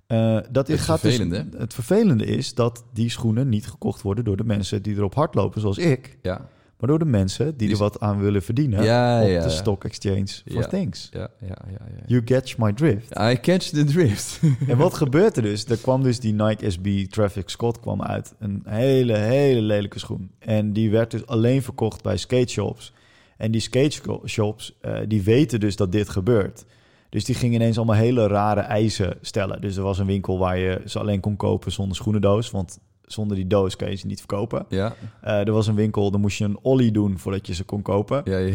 eh, dat Het is, gaat dus- vervelende. het vervelende is dat die schoenen niet gekocht worden door de mensen die erop hardlopen, zoals ik. Ja. Maar door de mensen die, Die er wat aan willen verdienen Dus- Ja, op ja, de ja. stock exchange for Ja. things. Ja. Ja. Ja. ja. You catch my drift. I catch the drift. En wat gebeurt er dus? Er kwam dus die Nike SB Traffic Scott kwam uit. Een hele, hele lelijke schoen. En die werd dus alleen verkocht bij skateshops. En die skateshops, eh die weten dus dat dit gebeurt. Dus die gingen ineens allemaal hele rare eisen stellen. Dus er was een winkel waar je ze alleen kon kopen zonder schoenendoos. Want zonder die doos kan je ze niet verkopen. ja. Eh, er was een winkel, dan moest je een ollie doen voordat je ze kon kopen. Ja. ja.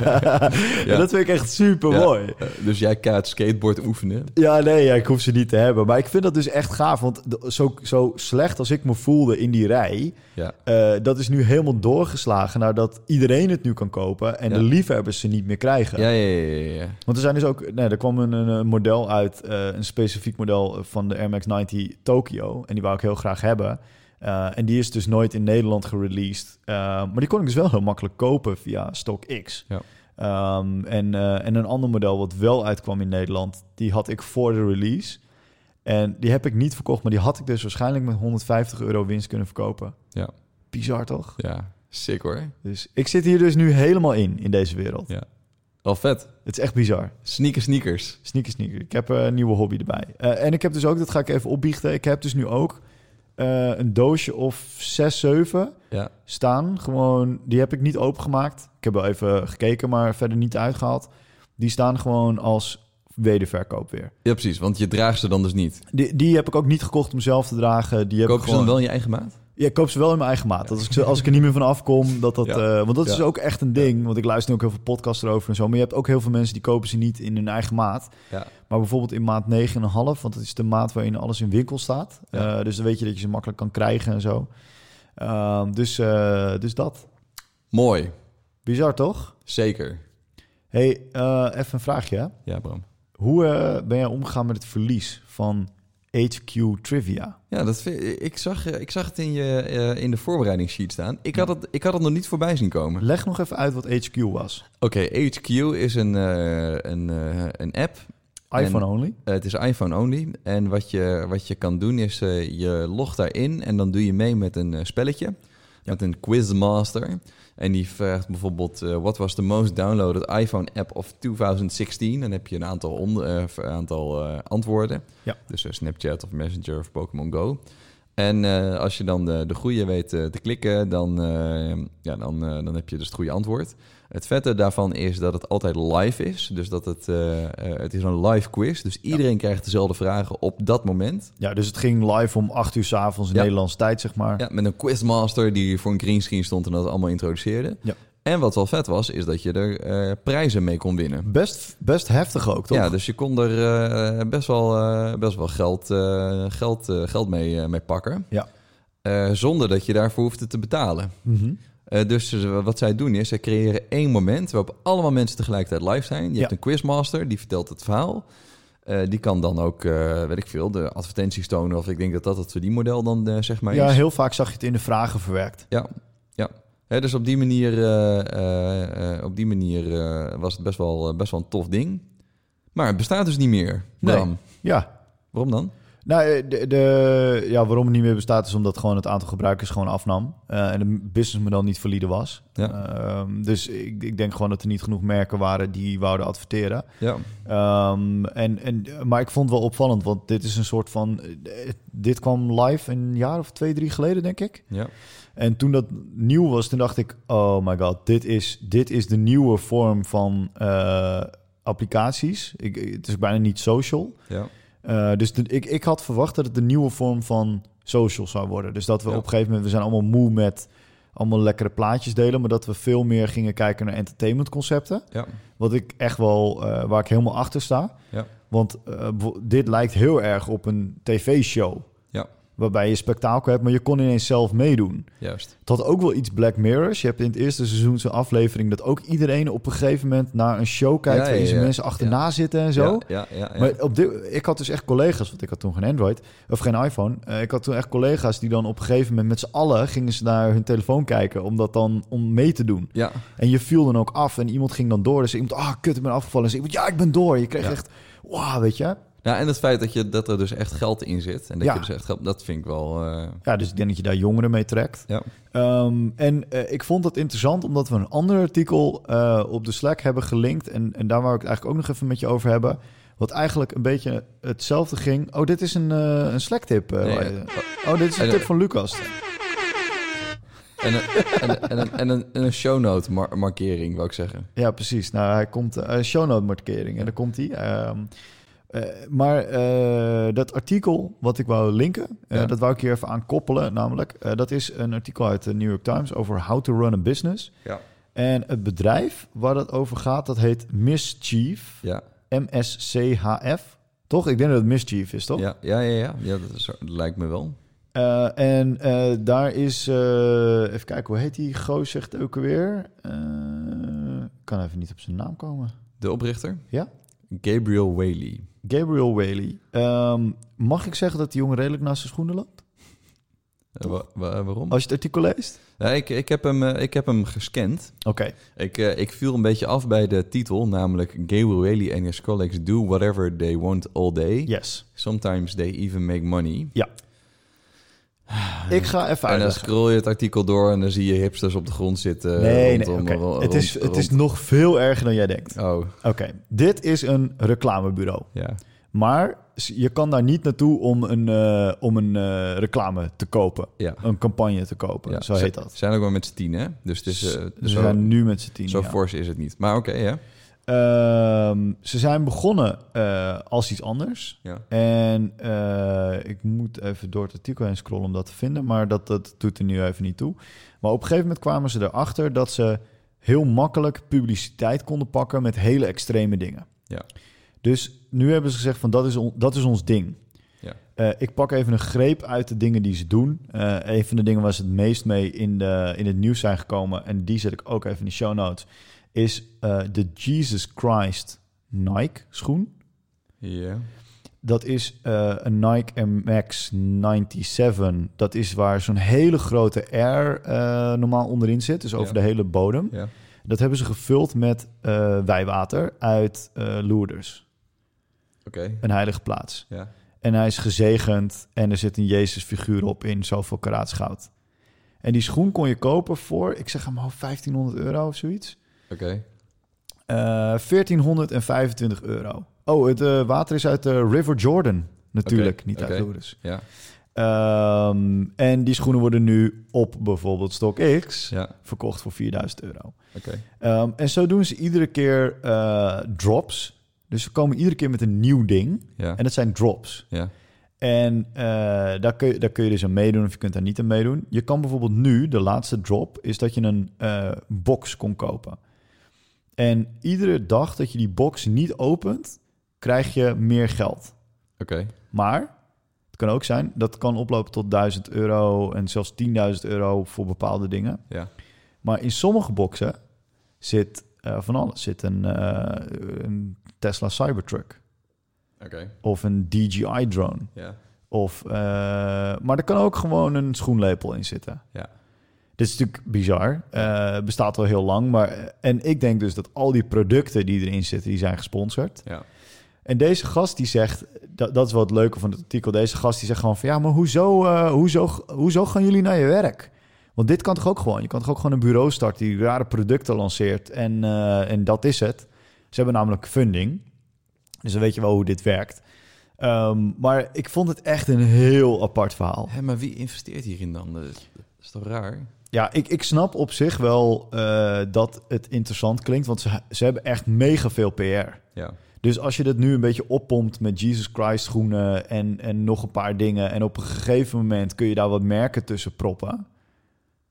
En dat vind ik echt super mooi. Eh, Dus jij gaat skateboard oefenen. Ja, nee, ja, ik hoef ze niet te hebben. Maar ik vind dat dus echt gaaf. Want de- zo, zo slecht als ik me voelde in die rij... Ja. eh, dat is nu helemaal doorgeslagen naar dat iedereen het nu kan kopen... en Ja. de liefhebbers ze niet meer krijgen. Ja. Ja. Ja. Ja. ja. Want er zijn dus ook... Nee, er kwam een, een, een model uit, eh, een specifiek model van de Air Max 90 Tokyo. En die wou ik heel graag hebben. Eh, en die is dus nooit in Nederland gereleased. Eh, maar die kon ik dus wel heel makkelijk kopen via StockX. Ja. Ehm, en, eh, en een ander model wat wel uitkwam in Nederland, die had ik voor de release. En die heb ik niet verkocht, maar die had ik dus waarschijnlijk met 150 euro winst kunnen verkopen. Ja. Bizar toch? ja. Sick hoor. Dus ik zit hier dus nu helemaal in, in deze wereld. Ja. Al vet. Het is echt bizar. Sneaker sneakers. Sneaker, sneaker. Ik heb eh, een nieuwe hobby erbij. Eh, en ik heb dus ook, dat ga ik even opbiechten. Ik heb dus nu ook eh, een doosje of 6, 7 Ja. staan. Gewoon, die heb ik niet opengemaakt. Ik heb wel even gekeken, maar verder niet uitgehaald. Die staan gewoon als wederverkoop weer. Ja, precies. Want je draagt ze dan dus niet. Die, die heb ik ook niet gekocht om zelf te dragen. Die heb Koop ik je ze gewoon... dan wel in je eigen maat? Ja, ik koop ze wel in mijn eigen maat. Dat als, ik, ze- als ik er niet meer van afkom, dat dat... Ja. eh, want dat is Ja. ook echt een ding. Want ik luister nu ook heel veel podcasts erover en zo. Maar je hebt ook heel veel mensen die kopen ze niet in hun eigen maat. Ja. Maar bijvoorbeeld in maat 9,5, want dat is de maat waarin alles in winkel staat. Ja. Eh, dus dan weet je dat je ze makkelijk kan krijgen en zo. Ehm, Ehm, dus, eh, dus dat. Mooi, Bizar toch? zeker. hey, eh, even een vraagje. hè. Ja, Bram. Hoe eh, ben jij omgegaan met het verlies van HQ Trivia? Ja, dat vind- ik, zag, eh, ik zag het in, je, eh, in de voorbereidingssheet staan. Ik had, het, ik had het nog niet voorbij zien komen. Leg nog even uit wat HQ was. Oké, HQ is een, eh, een, eh, een app. En- iPhone only. Eh, het is iPhone only. En wat je, wat je kan doen is, eh, je logt daarin en dan doe je mee met een eh, spelletje. Met een quizmaster. En die vraagt bijvoorbeeld, eh wat was de most downloaded iPhone app of 2016? Dan heb je een aantal, on- eh, v- aantal eh, antwoorden. Ja. Dus eh, Snapchat of Messenger of Pokémon Go. En eh, als je dan de, de goede weet eh, te klikken, dan, eh, ja, dan, eh, dan heb je dus het goede antwoord. Het vette daarvan is dat het altijd live is. Dus dat het, eh, eh, het is een live quiz. Dus iedereen krijgt dezelfde vragen op dat moment. Ja, dus het ging live om 8 uur 's avonds in Ja. Nederlandse tijd, zeg maar. Ja, met een quizmaster die voor een greenscreen stond en dat allemaal introduceerde. Ja. En wat wel vet was, is dat je er eh, prijzen mee kon winnen. Best, best heftig ook, toch? Ja, dus je kon er eh, best wel, eh, best wel geld, eh, geld, eh, geld mee, eh, mee pakken. Ja. Eh, zonder dat je daarvoor hoefde te betalen. Mhm. Eh, dus eh, wat zij doen is, zij creëren één moment waarop allemaal mensen tegelijkertijd live zijn. Je Ja. hebt een quizmaster, die vertelt het verhaal. Eh, die kan dan ook, eh, weet ik veel, de advertenties tonen. Of ik denk dat dat het verdienmodel dan eh, zeg maar ja, is. heel vaak zag je het in de vragen verwerkt. Ja, ja. Hè, dus op die manier, eh, eh, eh, op die manier eh, was het best wel, eh, best wel een tof ding. Maar het bestaat dus niet meer. Nee. Bram, Ja. waarom dan? Nou, eh, de, de, ja, waarom het niet meer bestaat is omdat gewoon het aantal gebruikers gewoon afnam. eh, en het businessmodel niet valide was. Ja. Ehm, dus ik, ik denk gewoon dat er niet genoeg merken waren die wouden adverteren. Ja, Ehm, en, en, maar ik vond het wel opvallend, want dit is een soort van... eh, Dit kwam live een jaar of twee, drie geleden, denk ik. ja. En toen dat nieuw was, toen dacht ik... Oh my god, dit is, dit is de nieuwe vorm van eh, applicaties. Ik, het is bijna niet social. ja. Eh, dus de- ik, ik had verwacht dat het de nieuwe vorm van social zou worden. Dus dat we Ja. op een gegeven moment... We zijn allemaal moe met allemaal lekkere plaatjes delen... maar dat we veel meer gingen kijken naar entertainmentconcepten. ja. Wat ik echt wel, eh, waar ik helemaal achter sta. Ja. Want eh, bijvo- dit lijkt heel erg op een tv-show. Ja. Waarbij je spektakel hebt, maar je kon ineens zelf meedoen. Juist. Het had ook wel iets Black Mirrors. Je hebt in het eerste seizoen zo'n aflevering dat ook iedereen op een gegeven moment naar een show kijkt. Ja, ja, waarin ze ja. mensen achterna zitten en zo. Ja, ja, ja. ja. Maar op dit, ik had dus echt collega's, want ik had toen geen Android of geen iPhone. Eh, ik had toen echt collega's die dan op een gegeven moment met z'n allen gingen ze naar hun telefoon kijken om dat dan om mee te doen. ja. En je viel dan ook af en iemand ging dan door. Dus iemand, ah, kut, ik ben afgevallen. Dus iemand, ja, ik ben door. Je kreeg Ja. echt, wauw, weet je. Nou, en het feit dat, je, dat er dus echt geld in zit. En dat Ja. je dus echt geld... Dat vind ik wel... eh, Ja, dus ik denk dat je daar jongeren mee trekt. ja. Ehm, en eh, ik vond dat interessant omdat we een ander artikel eh, op de Slack hebben gelinkt. En, en daar wou ik het eigenlijk ook nog even met je over hebben. Wat eigenlijk een beetje hetzelfde ging. Oh, dit is een, eh, een Slack-tip. eh, Nee, waar je- eh, oh, dit is een eh, tip van Lucas. En een, en, een- en, een, en, een, en een show note mar- markering, wou ik zeggen. Ja, precies. Nou, hij komt eh show note markering en daar komt hij. Ehm, eh, maar eh, dat artikel wat ik wou linken, eh, Ja. dat wou ik hier even aan koppelen. Namelijk, eh, dat is een artikel uit de New York Times over how to run a business. Ja. En het bedrijf waar dat over gaat, dat heet Mischief. Ja. M-S-C-H-F. Toch? Ik denk dat het Mischief is, toch? Ja, ja, ja, ja. ja dat, is, dat lijkt me wel. Eh, en eh, daar is, eh, even kijken, hoe heet die gozer zegt ook weer? Eh, kan even niet op zijn naam komen. De oprichter? Ja. Gabriel Whaley. Gabriel Whaley. Ehm, mag ik zeggen dat die jongen redelijk naast zijn schoenen loopt? Eh, wa- wa- waarom? Als je het artikel leest? Ja, ik, ik, heb hem, eh, ik heb hem gescand. Oké. Ik, eh, ik viel een beetje af bij de titel, namelijk Gabriel Whaley and his colleagues do whatever they want all day. Yes. Sometimes they even make money. Ik ga even En dan uitleggen. scroll je het artikel door en dan zie je hipsters op de grond zitten. Nee, nee, eh, rondom- oké. ro- Het, is, rond- het is rond- nog veel erger dan jij denkt. Oh, Oké, dit is een reclamebureau. ja. Maar je kan daar niet naartoe om een, eh, om een eh, reclame te kopen. ja. Een campagne te kopen, ja. zo Ze- heet dat. Ze zijn ook maar met z'n tien, hè? Dus het is, eh, Ze zo, zijn nu met z'n tien. zo ja. fors is het niet. Maar oké, ja. Ehm, ze zijn begonnen eh, als iets anders. ja. En eh, ik moet even door het artikel heen scrollen om dat te vinden, maar dat, dat doet er nu even niet toe. Maar op een gegeven moment kwamen ze erachter dat ze heel makkelijk publiciteit konden pakken met hele extreme dingen. Ja. Dus nu hebben ze gezegd van dat is, on- dat is ons ding. Ja. Eh, Eh, ik pak even een greep uit de dingen die ze doen. Eh, een van de dingen waar ze het meest mee in, de, in het nieuws zijn gekomen, en die zet ik ook even in de show notes, is eh, de Jesus Christ Nike schoen. Ja. Dat is eh, een Nike MX 97. Dat is waar zo'n hele grote R eh, normaal onderin zit, dus over Ja. de hele bodem. ja. Dat hebben ze gevuld met eh, wijwater uit eh, Lourdes, Oké. een heilige plaats. Ja. En hij is gezegend en er zit een Jezus-figuur op in zoveel karaats goud. En die schoen kon je kopen voor, ik zeg hem al 1500 euro of zoiets. Oké. Eh 1425 euro. Oh, het eh, water is uit de River Jordan. Natuurlijk, Oké, niet oké. uit Lourdes. Ja. Ehm, en die schoenen worden nu op bijvoorbeeld StockX X Ja. verkocht voor 4000 euro. Oké. Ehm, en zo doen ze iedere keer eh, drops. Dus ze komen iedere keer met een nieuw ding. Ja. En dat zijn drops. Ja. En eh, daar, kun je, daar kun je dus aan meedoen of je kunt daar niet aan meedoen. Je kan bijvoorbeeld nu, de laatste drop, is dat je een eh, box kon kopen. En iedere dag dat je die box niet opent, krijg je meer geld. Oké. Maar het kan ook zijn, dat kan oplopen tot 1000 euro en zelfs 10.000 euro voor bepaalde dingen. Ja. Maar in sommige boxen zit eh, van alles. Zit een, eh, een Tesla Cybertruck Oké. of een DJI drone. Ja. Of, eh, maar er kan ook gewoon een schoenlepel in zitten. Ja. Dit is natuurlijk bizar. Eh, bestaat al heel lang. Maar, en ik denk dus dat al die producten die erin zitten, die zijn gesponsord. Ja. En deze gast die zegt, dat, dat is wel het leuke van het artikel. Deze gast die zegt gewoon van ja, maar hoezo, eh, hoezo, hoezo gaan jullie naar je werk? Want dit kan toch ook gewoon? Je kan toch ook gewoon een bureau starten die rare producten lanceert. En, eh, en dat is het. Ze hebben namelijk funding. Dus dan weet je wel hoe dit werkt. Ehm, maar ik vond het echt een heel apart verhaal. Hé, maar wie investeert hierin dan? Dat is, dat is toch raar? Ja, ik, ik snap op zich wel eh, dat het interessant klinkt. Want ze, ze hebben echt mega veel PR. Ja. Dus als je dat nu een beetje oppompt met Jesus Christ schoenen en, en nog een paar dingen. En op een gegeven moment kun je daar wat merken tussen proppen.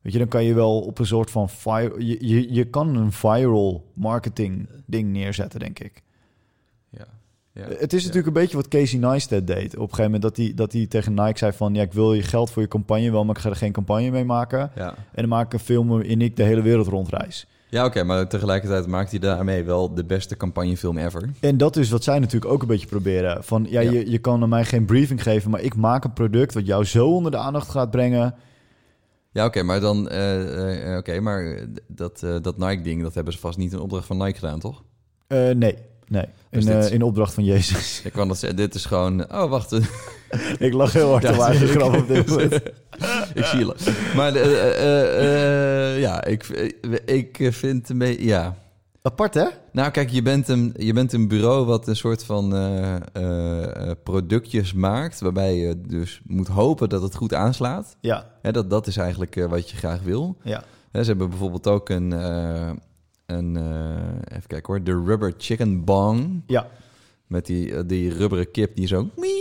Weet je, dan kan je wel op een soort van viral. Je, je, je kan een viral marketing ding neerzetten, denk ik. Ja. ja. Het is natuurlijk een beetje wat Casey Neistat deed. Op een gegeven moment dat hij, dat hij tegen Nike zei van... ja, ik wil je geld voor je campagne wel, maar ik ga er geen campagne mee maken. Ja. En dan maak ik een film waarin ik de hele wereld rondreis. Ja, oké, maar tegelijkertijd maakt hij daarmee wel de beste campagnefilm ever. En dat is wat zij natuurlijk ook een beetje proberen. Van ja, Ja. Je, je kan aan mij geen briefing geven, maar ik maak een product wat jou zo onder de aandacht gaat brengen. Ja, oké, maar dan, eh, eh, oké, maar dat, eh, dat Nike-ding, dat hebben ze vast niet in opdracht van Nike gedaan, toch? Eh, nee, nee. Dus in, dit- eh, in opdracht van Jezus. Ik kan dat zeggen, dit is gewoon, oh wacht, ik lach heel hard Ja, om mijn eigen tuurlijk. grap op dit moment. ik zie je. Maar eh, eh, eh, ja, ik, ik vind het een beetje, ja. Apart hè? Nou, kijk, je bent een, je bent een bureau wat een soort van eh, eh, eh, productjes maakt, waarbij je dus moet hopen dat het goed aanslaat. Ja, Hè, dat, dat is eigenlijk eh, wat je graag wil. ja. Hè, ze hebben bijvoorbeeld ook een, eh, een eh, even kijken hoor, de rubber chicken bong. Ja. Met die, eh, die rubberen kip die zo mie-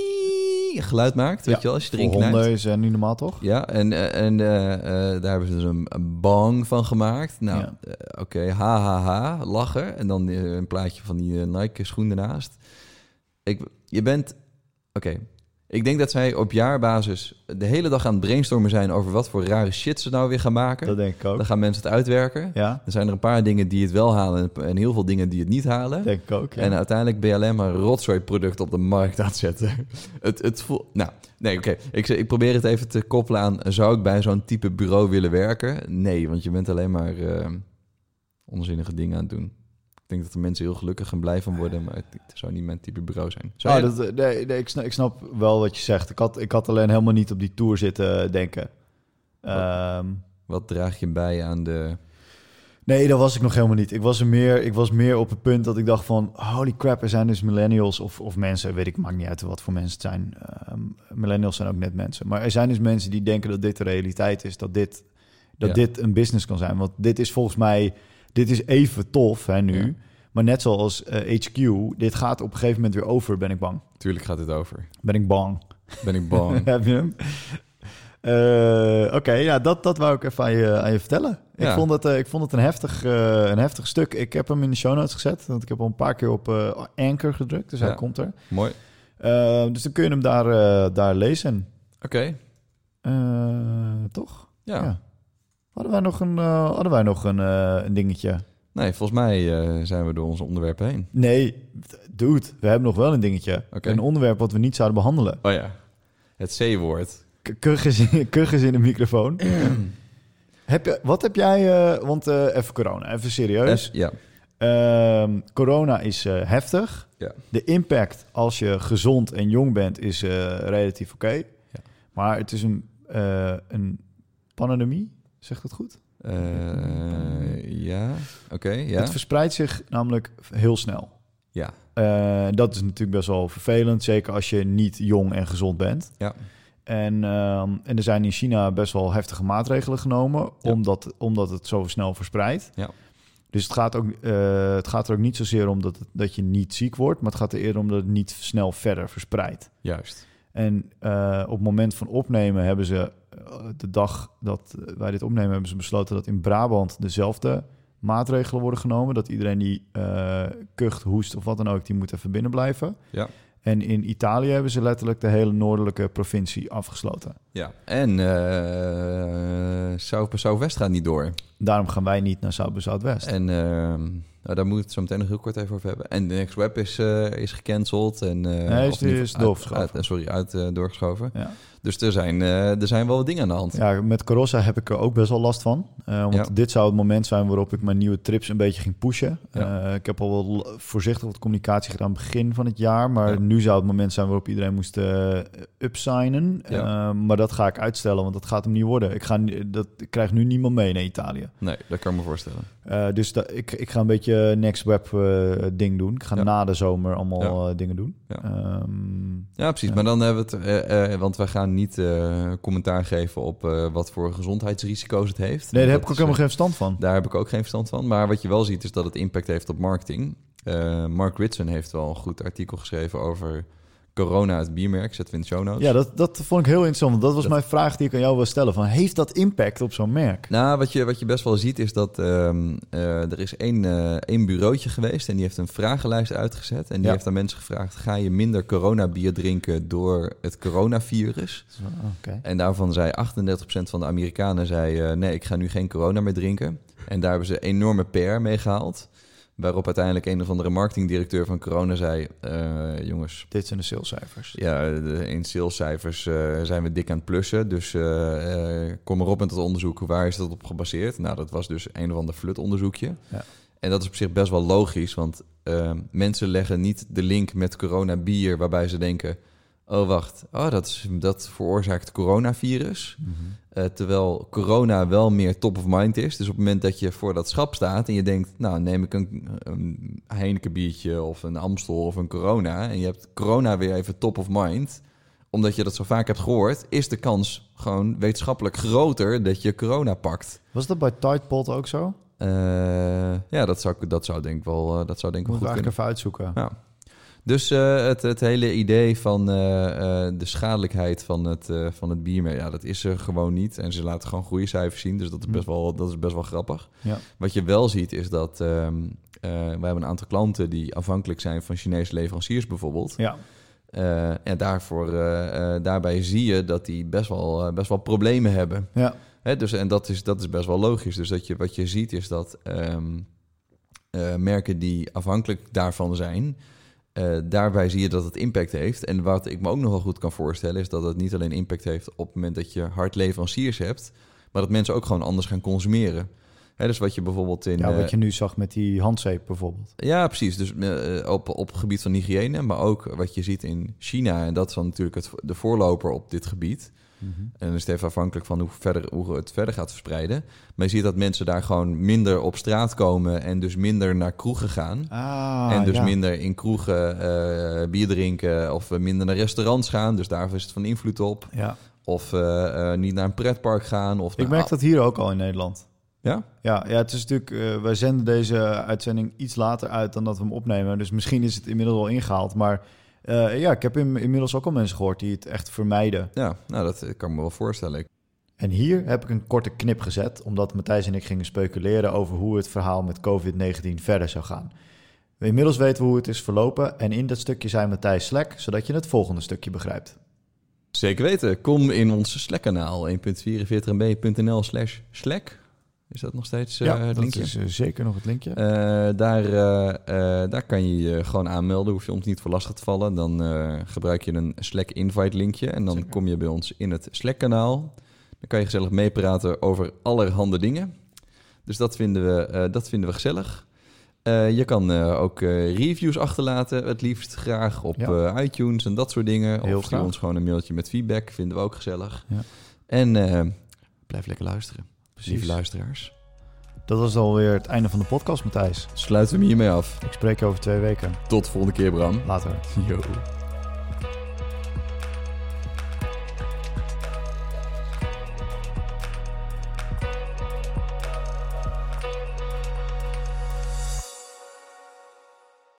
geluid maakt, weet Ja, je wel, als je Voor erin knijpt. honden is eh, niet normaal toch? Ja, en, eh, en eh, eh, daar hebben ze dus een, een bang van gemaakt. Nou, Ja. eh, oké, ha, ha, ha, lachen. En dan eh, een plaatje van die Nike-schoen ernaast. Ik, je bent... Oké, ik denk dat zij op jaarbasis de hele dag aan het brainstormen zijn... over wat voor rare shit ze nou weer gaan maken. Dat denk ik ook. Dan gaan mensen het uitwerken. Ja, Er zijn er een paar dingen die het wel halen en heel veel dingen die het niet halen. denk ik ook. ja. En eh, uiteindelijk ben je alleen maar een rotzooi-product op de markt aan het zetten. het, het voelt... Nou, nee, oké. Ik, zeg- ik probeer het even te koppelen aan... zou ik bij zo'n type bureau willen werken? Nee, want je bent alleen maar eh, onzinnige dingen aan het doen. Ik denk dat er mensen heel gelukkig en blij van worden... maar het, het zou niet mijn type bureau zijn. Zou Ah, je- dat, eh, nee, nee, ik, snap, ik snap wel wat je zegt. Ik had, ik had alleen helemaal niet op die tour zitten denken. Ehm, Wat draag je bij aan de... Nee, dat was ik nog helemaal niet. Ik was, er meer, ik was meer op het punt dat ik dacht van... holy crap, er zijn dus millennials of, of mensen... weet ik, maakt niet uit wat voor mensen het zijn. Ehm, millennials zijn ook net mensen. Maar er zijn dus mensen die denken dat dit de realiteit is. Dat dit, dat Ja. dit een business kan zijn. Want dit is volgens mij... dit is even tof hè, nu. Ja. Maar net zoals eh, HQ, dit gaat op een gegeven moment weer over, ben ik bang. Tuurlijk gaat het over. Ben ik bang. Ben ik bang. Heb je hem? Eh, Oké, ja, dat, dat wou ik even aan je, aan je vertellen. Ik, Ja. vond het, eh, ik vond het een heftig, eh, een heftig stuk. Ik heb hem in de show notes gezet, want ik heb al een paar keer op eh, Anchor gedrukt, dus hij Ja. komt er. Mooi. Eh, dus dan kun je hem daar, eh, daar lezen. Oké, Eh, toch? ja. Ja. Hadden wij nog een, eh, hadden wij nog een, eh, een dingetje? Nee, volgens mij eh, zijn we door onze onderwerpen heen. Nee, dude, we hebben nog wel een dingetje. Oké. Een onderwerp wat we niet zouden behandelen. Oh ja, het C-woord. K- Kug is, kug is in de microfoon. heb je, wat heb jij... eh, want eh, even corona, even serieus. S- ja, Ehm, corona is eh, heftig. Ja. De impact als je gezond en jong bent is eh, relatief oké. Ja. Maar het is een, eh, een pandemie, zegt dat goed? Eh, ja, oké, ja. Het verspreidt zich namelijk heel snel. Ja. Eh, dat is natuurlijk best wel vervelend, zeker als je niet jong en gezond bent. Ja. En, ehm, en er zijn in China best wel heftige maatregelen genomen, Ja. omdat, omdat het zo snel verspreidt. Ja. Dus het gaat, ook, eh, het gaat er ook niet zozeer om dat, het- dat je niet ziek wordt, maar het gaat er eerder om dat het niet snel verder verspreidt. Juist. En eh, op het moment van opnemen hebben ze, eh, de dag dat wij dit opnemen, hebben ze besloten dat in Brabant dezelfde maatregelen worden genomen. Dat iedereen die eh, kucht, hoest of wat dan ook, die moet even binnen blijven. Ja. En in Italië hebben ze letterlijk de hele noordelijke provincie afgesloten. Ja, en eh South bij Southwest gaat niet door. Daarom gaan wij niet naar South by Southwest. En ehm, nou, daar moeten we het zo meteen nog heel kort even over hebben. En de Next Web is, eh, is gecanceld. En, eh, Nee, is- of in ieder is geval uit- doorgeschoven. uit- eh, sorry, uit eh, doorgeschoven. Ja. Dus er zijn, eh, er zijn wel wat dingen aan de hand. Ja, met Carossa heb ik er ook best wel last van. Eh, want Ja. dit zou het moment zijn waarop ik mijn nieuwe trips een beetje ging pushen. Ja. Eh, ik heb al wel voorzichtig wat communicatie gedaan begin van het jaar. Maar Ja. nu zou het moment zijn waarop iedereen moest eh, upsignen. Ja. Eh, maar dat ga ik uitstellen, want dat gaat hem niet worden. Ik, ga, ni- dat, ik krijg nu niemand mee naar Italië. Nee, dat kan ik me voorstellen. Eh, dus da- ik, ik ga een beetje next web eh, ding doen. Ik ga Ja. na de zomer allemaal eh, dingen doen. Ja. Ehm, Ja, precies. Ja. Maar dan hebben we het... eh, eh, want wij gaan niet eh, commentaar geven op eh, wat voor gezondheidsrisico's het heeft. nee, daar heb Dat ik ook is, eh, helemaal geen verstand van. Daar heb ik ook geen verstand van. Maar wat je wel ziet is dat het impact heeft op marketing. Eh, Mark Ritson heeft wel een goed artikel geschreven over corona, het biermerk. Zetten we in de show notes. Ja, dat, dat vond ik heel interessant. Want dat was Dat- mijn vraag die ik aan jou wil stellen. Van, heeft dat impact op zo'n merk? Nou, wat je, wat je best wel ziet is dat ehm, eh, er is één, eh, één bureautje geweest en die heeft een vragenlijst uitgezet. En die Ja. heeft aan mensen gevraagd, ga je minder coronabier drinken door het coronavirus? Oké. En daarvan zei 38% van de Amerikanen, zei, eh, nee, ik ga nu geen corona meer drinken. En daar hebben ze een enorme PR mee gehaald. Waarop uiteindelijk een of andere marketingdirecteur van corona zei, eh, jongens, Dit zijn de salescijfers. ja, de- in salescijfers eh, zijn we dik aan het plussen. Dus eh, eh, kom erop met dat onderzoek. Waar is dat op gebaseerd? Nou, dat was dus een of ander flutonderzoekje. Ja. En dat is op zich best wel logisch. Want eh, mensen leggen niet de link met corona bier... waarbij ze denken... oh, wacht, oh, dat, is, dat veroorzaakt coronavirus. Eh, terwijl corona wel meer top of mind is. Dus op het moment dat je voor dat schap staat en je denkt, nou neem ik een, een Heineken biertje of een Amstel of een corona. En je hebt corona weer even top of mind. Omdat je dat zo vaak hebt gehoord, is de kans gewoon wetenschappelijk groter dat je corona pakt. Was dat bij Tide Pod ook zo? Eh, ja, dat zou, ik- dat zou denk ik wel, eh, dat zou denk Ik ik wel moet goed het eigenlijk kunnen. even uitzoeken. Ja. Dus eh, het, het hele idee van eh, eh, de schadelijkheid van het, eh, van het biermerk, ja, dat is er gewoon niet. En ze laten gewoon goede cijfers zien, dus dat is best wel, dat is best wel grappig. Mm. Ja. Wat je wel ziet is dat ehm eh, wij hebben een aantal klanten die afhankelijk zijn van Chinese leveranciers bijvoorbeeld. Ja. Eh, en daarvoor, eh, eh, daarbij zie je dat die best wel, eh, best wel problemen hebben. Ja. Hè, dus, en dat is, dat is best wel logisch. Dus dat je, wat je ziet is dat ehm, eh, merken die afhankelijk daarvan zijn, eh, daarbij zie je dat het impact heeft. En wat ik me ook nog wel goed kan voorstellen, is dat het niet alleen impact heeft op het moment dat je hard leveranciers hebt, maar dat mensen ook gewoon anders gaan consumeren. Hè, dus wat je bijvoorbeeld in. ja, eh, wat je nu zag met die handzeep bijvoorbeeld. ja, precies. Dus eh, op, op het gebied van hygiëne, maar ook wat je ziet in China. En dat is dan natuurlijk het, de voorloper op dit gebied. En dan is het even afhankelijk van hoe, verder, hoe het verder gaat verspreiden. Maar je ziet dat mensen daar gewoon minder op straat komen en dus minder naar kroegen gaan. Ah, en dus ja. minder in kroegen eh, bier drinken of minder naar restaurants gaan. Dus daar is het van invloed op. Ja. Of eh, eh, niet naar een pretpark gaan. Of Ik naar- merk dat hier ook al in Nederland. Ja? Ja, ja het is natuurlijk... eh, wij zenden deze uitzending iets later uit dan dat we hem opnemen. Dus misschien is het inmiddels al ingehaald. Maar eh, ja, ik heb in- inmiddels ook al mensen gehoord die het echt vermijden. Ja, nou dat kan ik me wel voorstellen. En hier heb ik een korte knip gezet, omdat Matthijs en ik gingen speculeren over hoe het verhaal met COVID-19 verder zou gaan. Inmiddels weten we hoe het is verlopen en in dat stukje zijn Matthijs Slek, zodat je het volgende stukje begrijpt. Zeker weten. Kom in ons Slack-kanaal 1.44mb.nl slash Slack. Is dat nog steeds eh het dat linkje? is eh, zeker nog het linkje. Eh, daar, eh, eh, daar kan je je gewoon aanmelden. Hoef je ons niet voor lastig te vallen. Dan eh, gebruik je een Slack invite linkje. En dan Zeker. kom je bij ons in het Slack kanaal. Dan kan je gezellig meepraten over allerhande dingen. Dus dat vinden we, eh, dat vinden we gezellig. Eh, je kan eh, ook eh, reviews achterlaten. Het liefst graag op Ja. eh, iTunes en dat soort dingen. Heel of stuur graag. ons gewoon een mailtje met feedback. Vinden we ook gezellig. Ja. En eh, blijf lekker luisteren. Lieve Precies. luisteraars. Dat was alweer het einde van de podcast, Matthijs. Sluiten we hem hiermee af. Ik spreek je over twee weken. Tot de volgende keer, Bram. Later. Yo.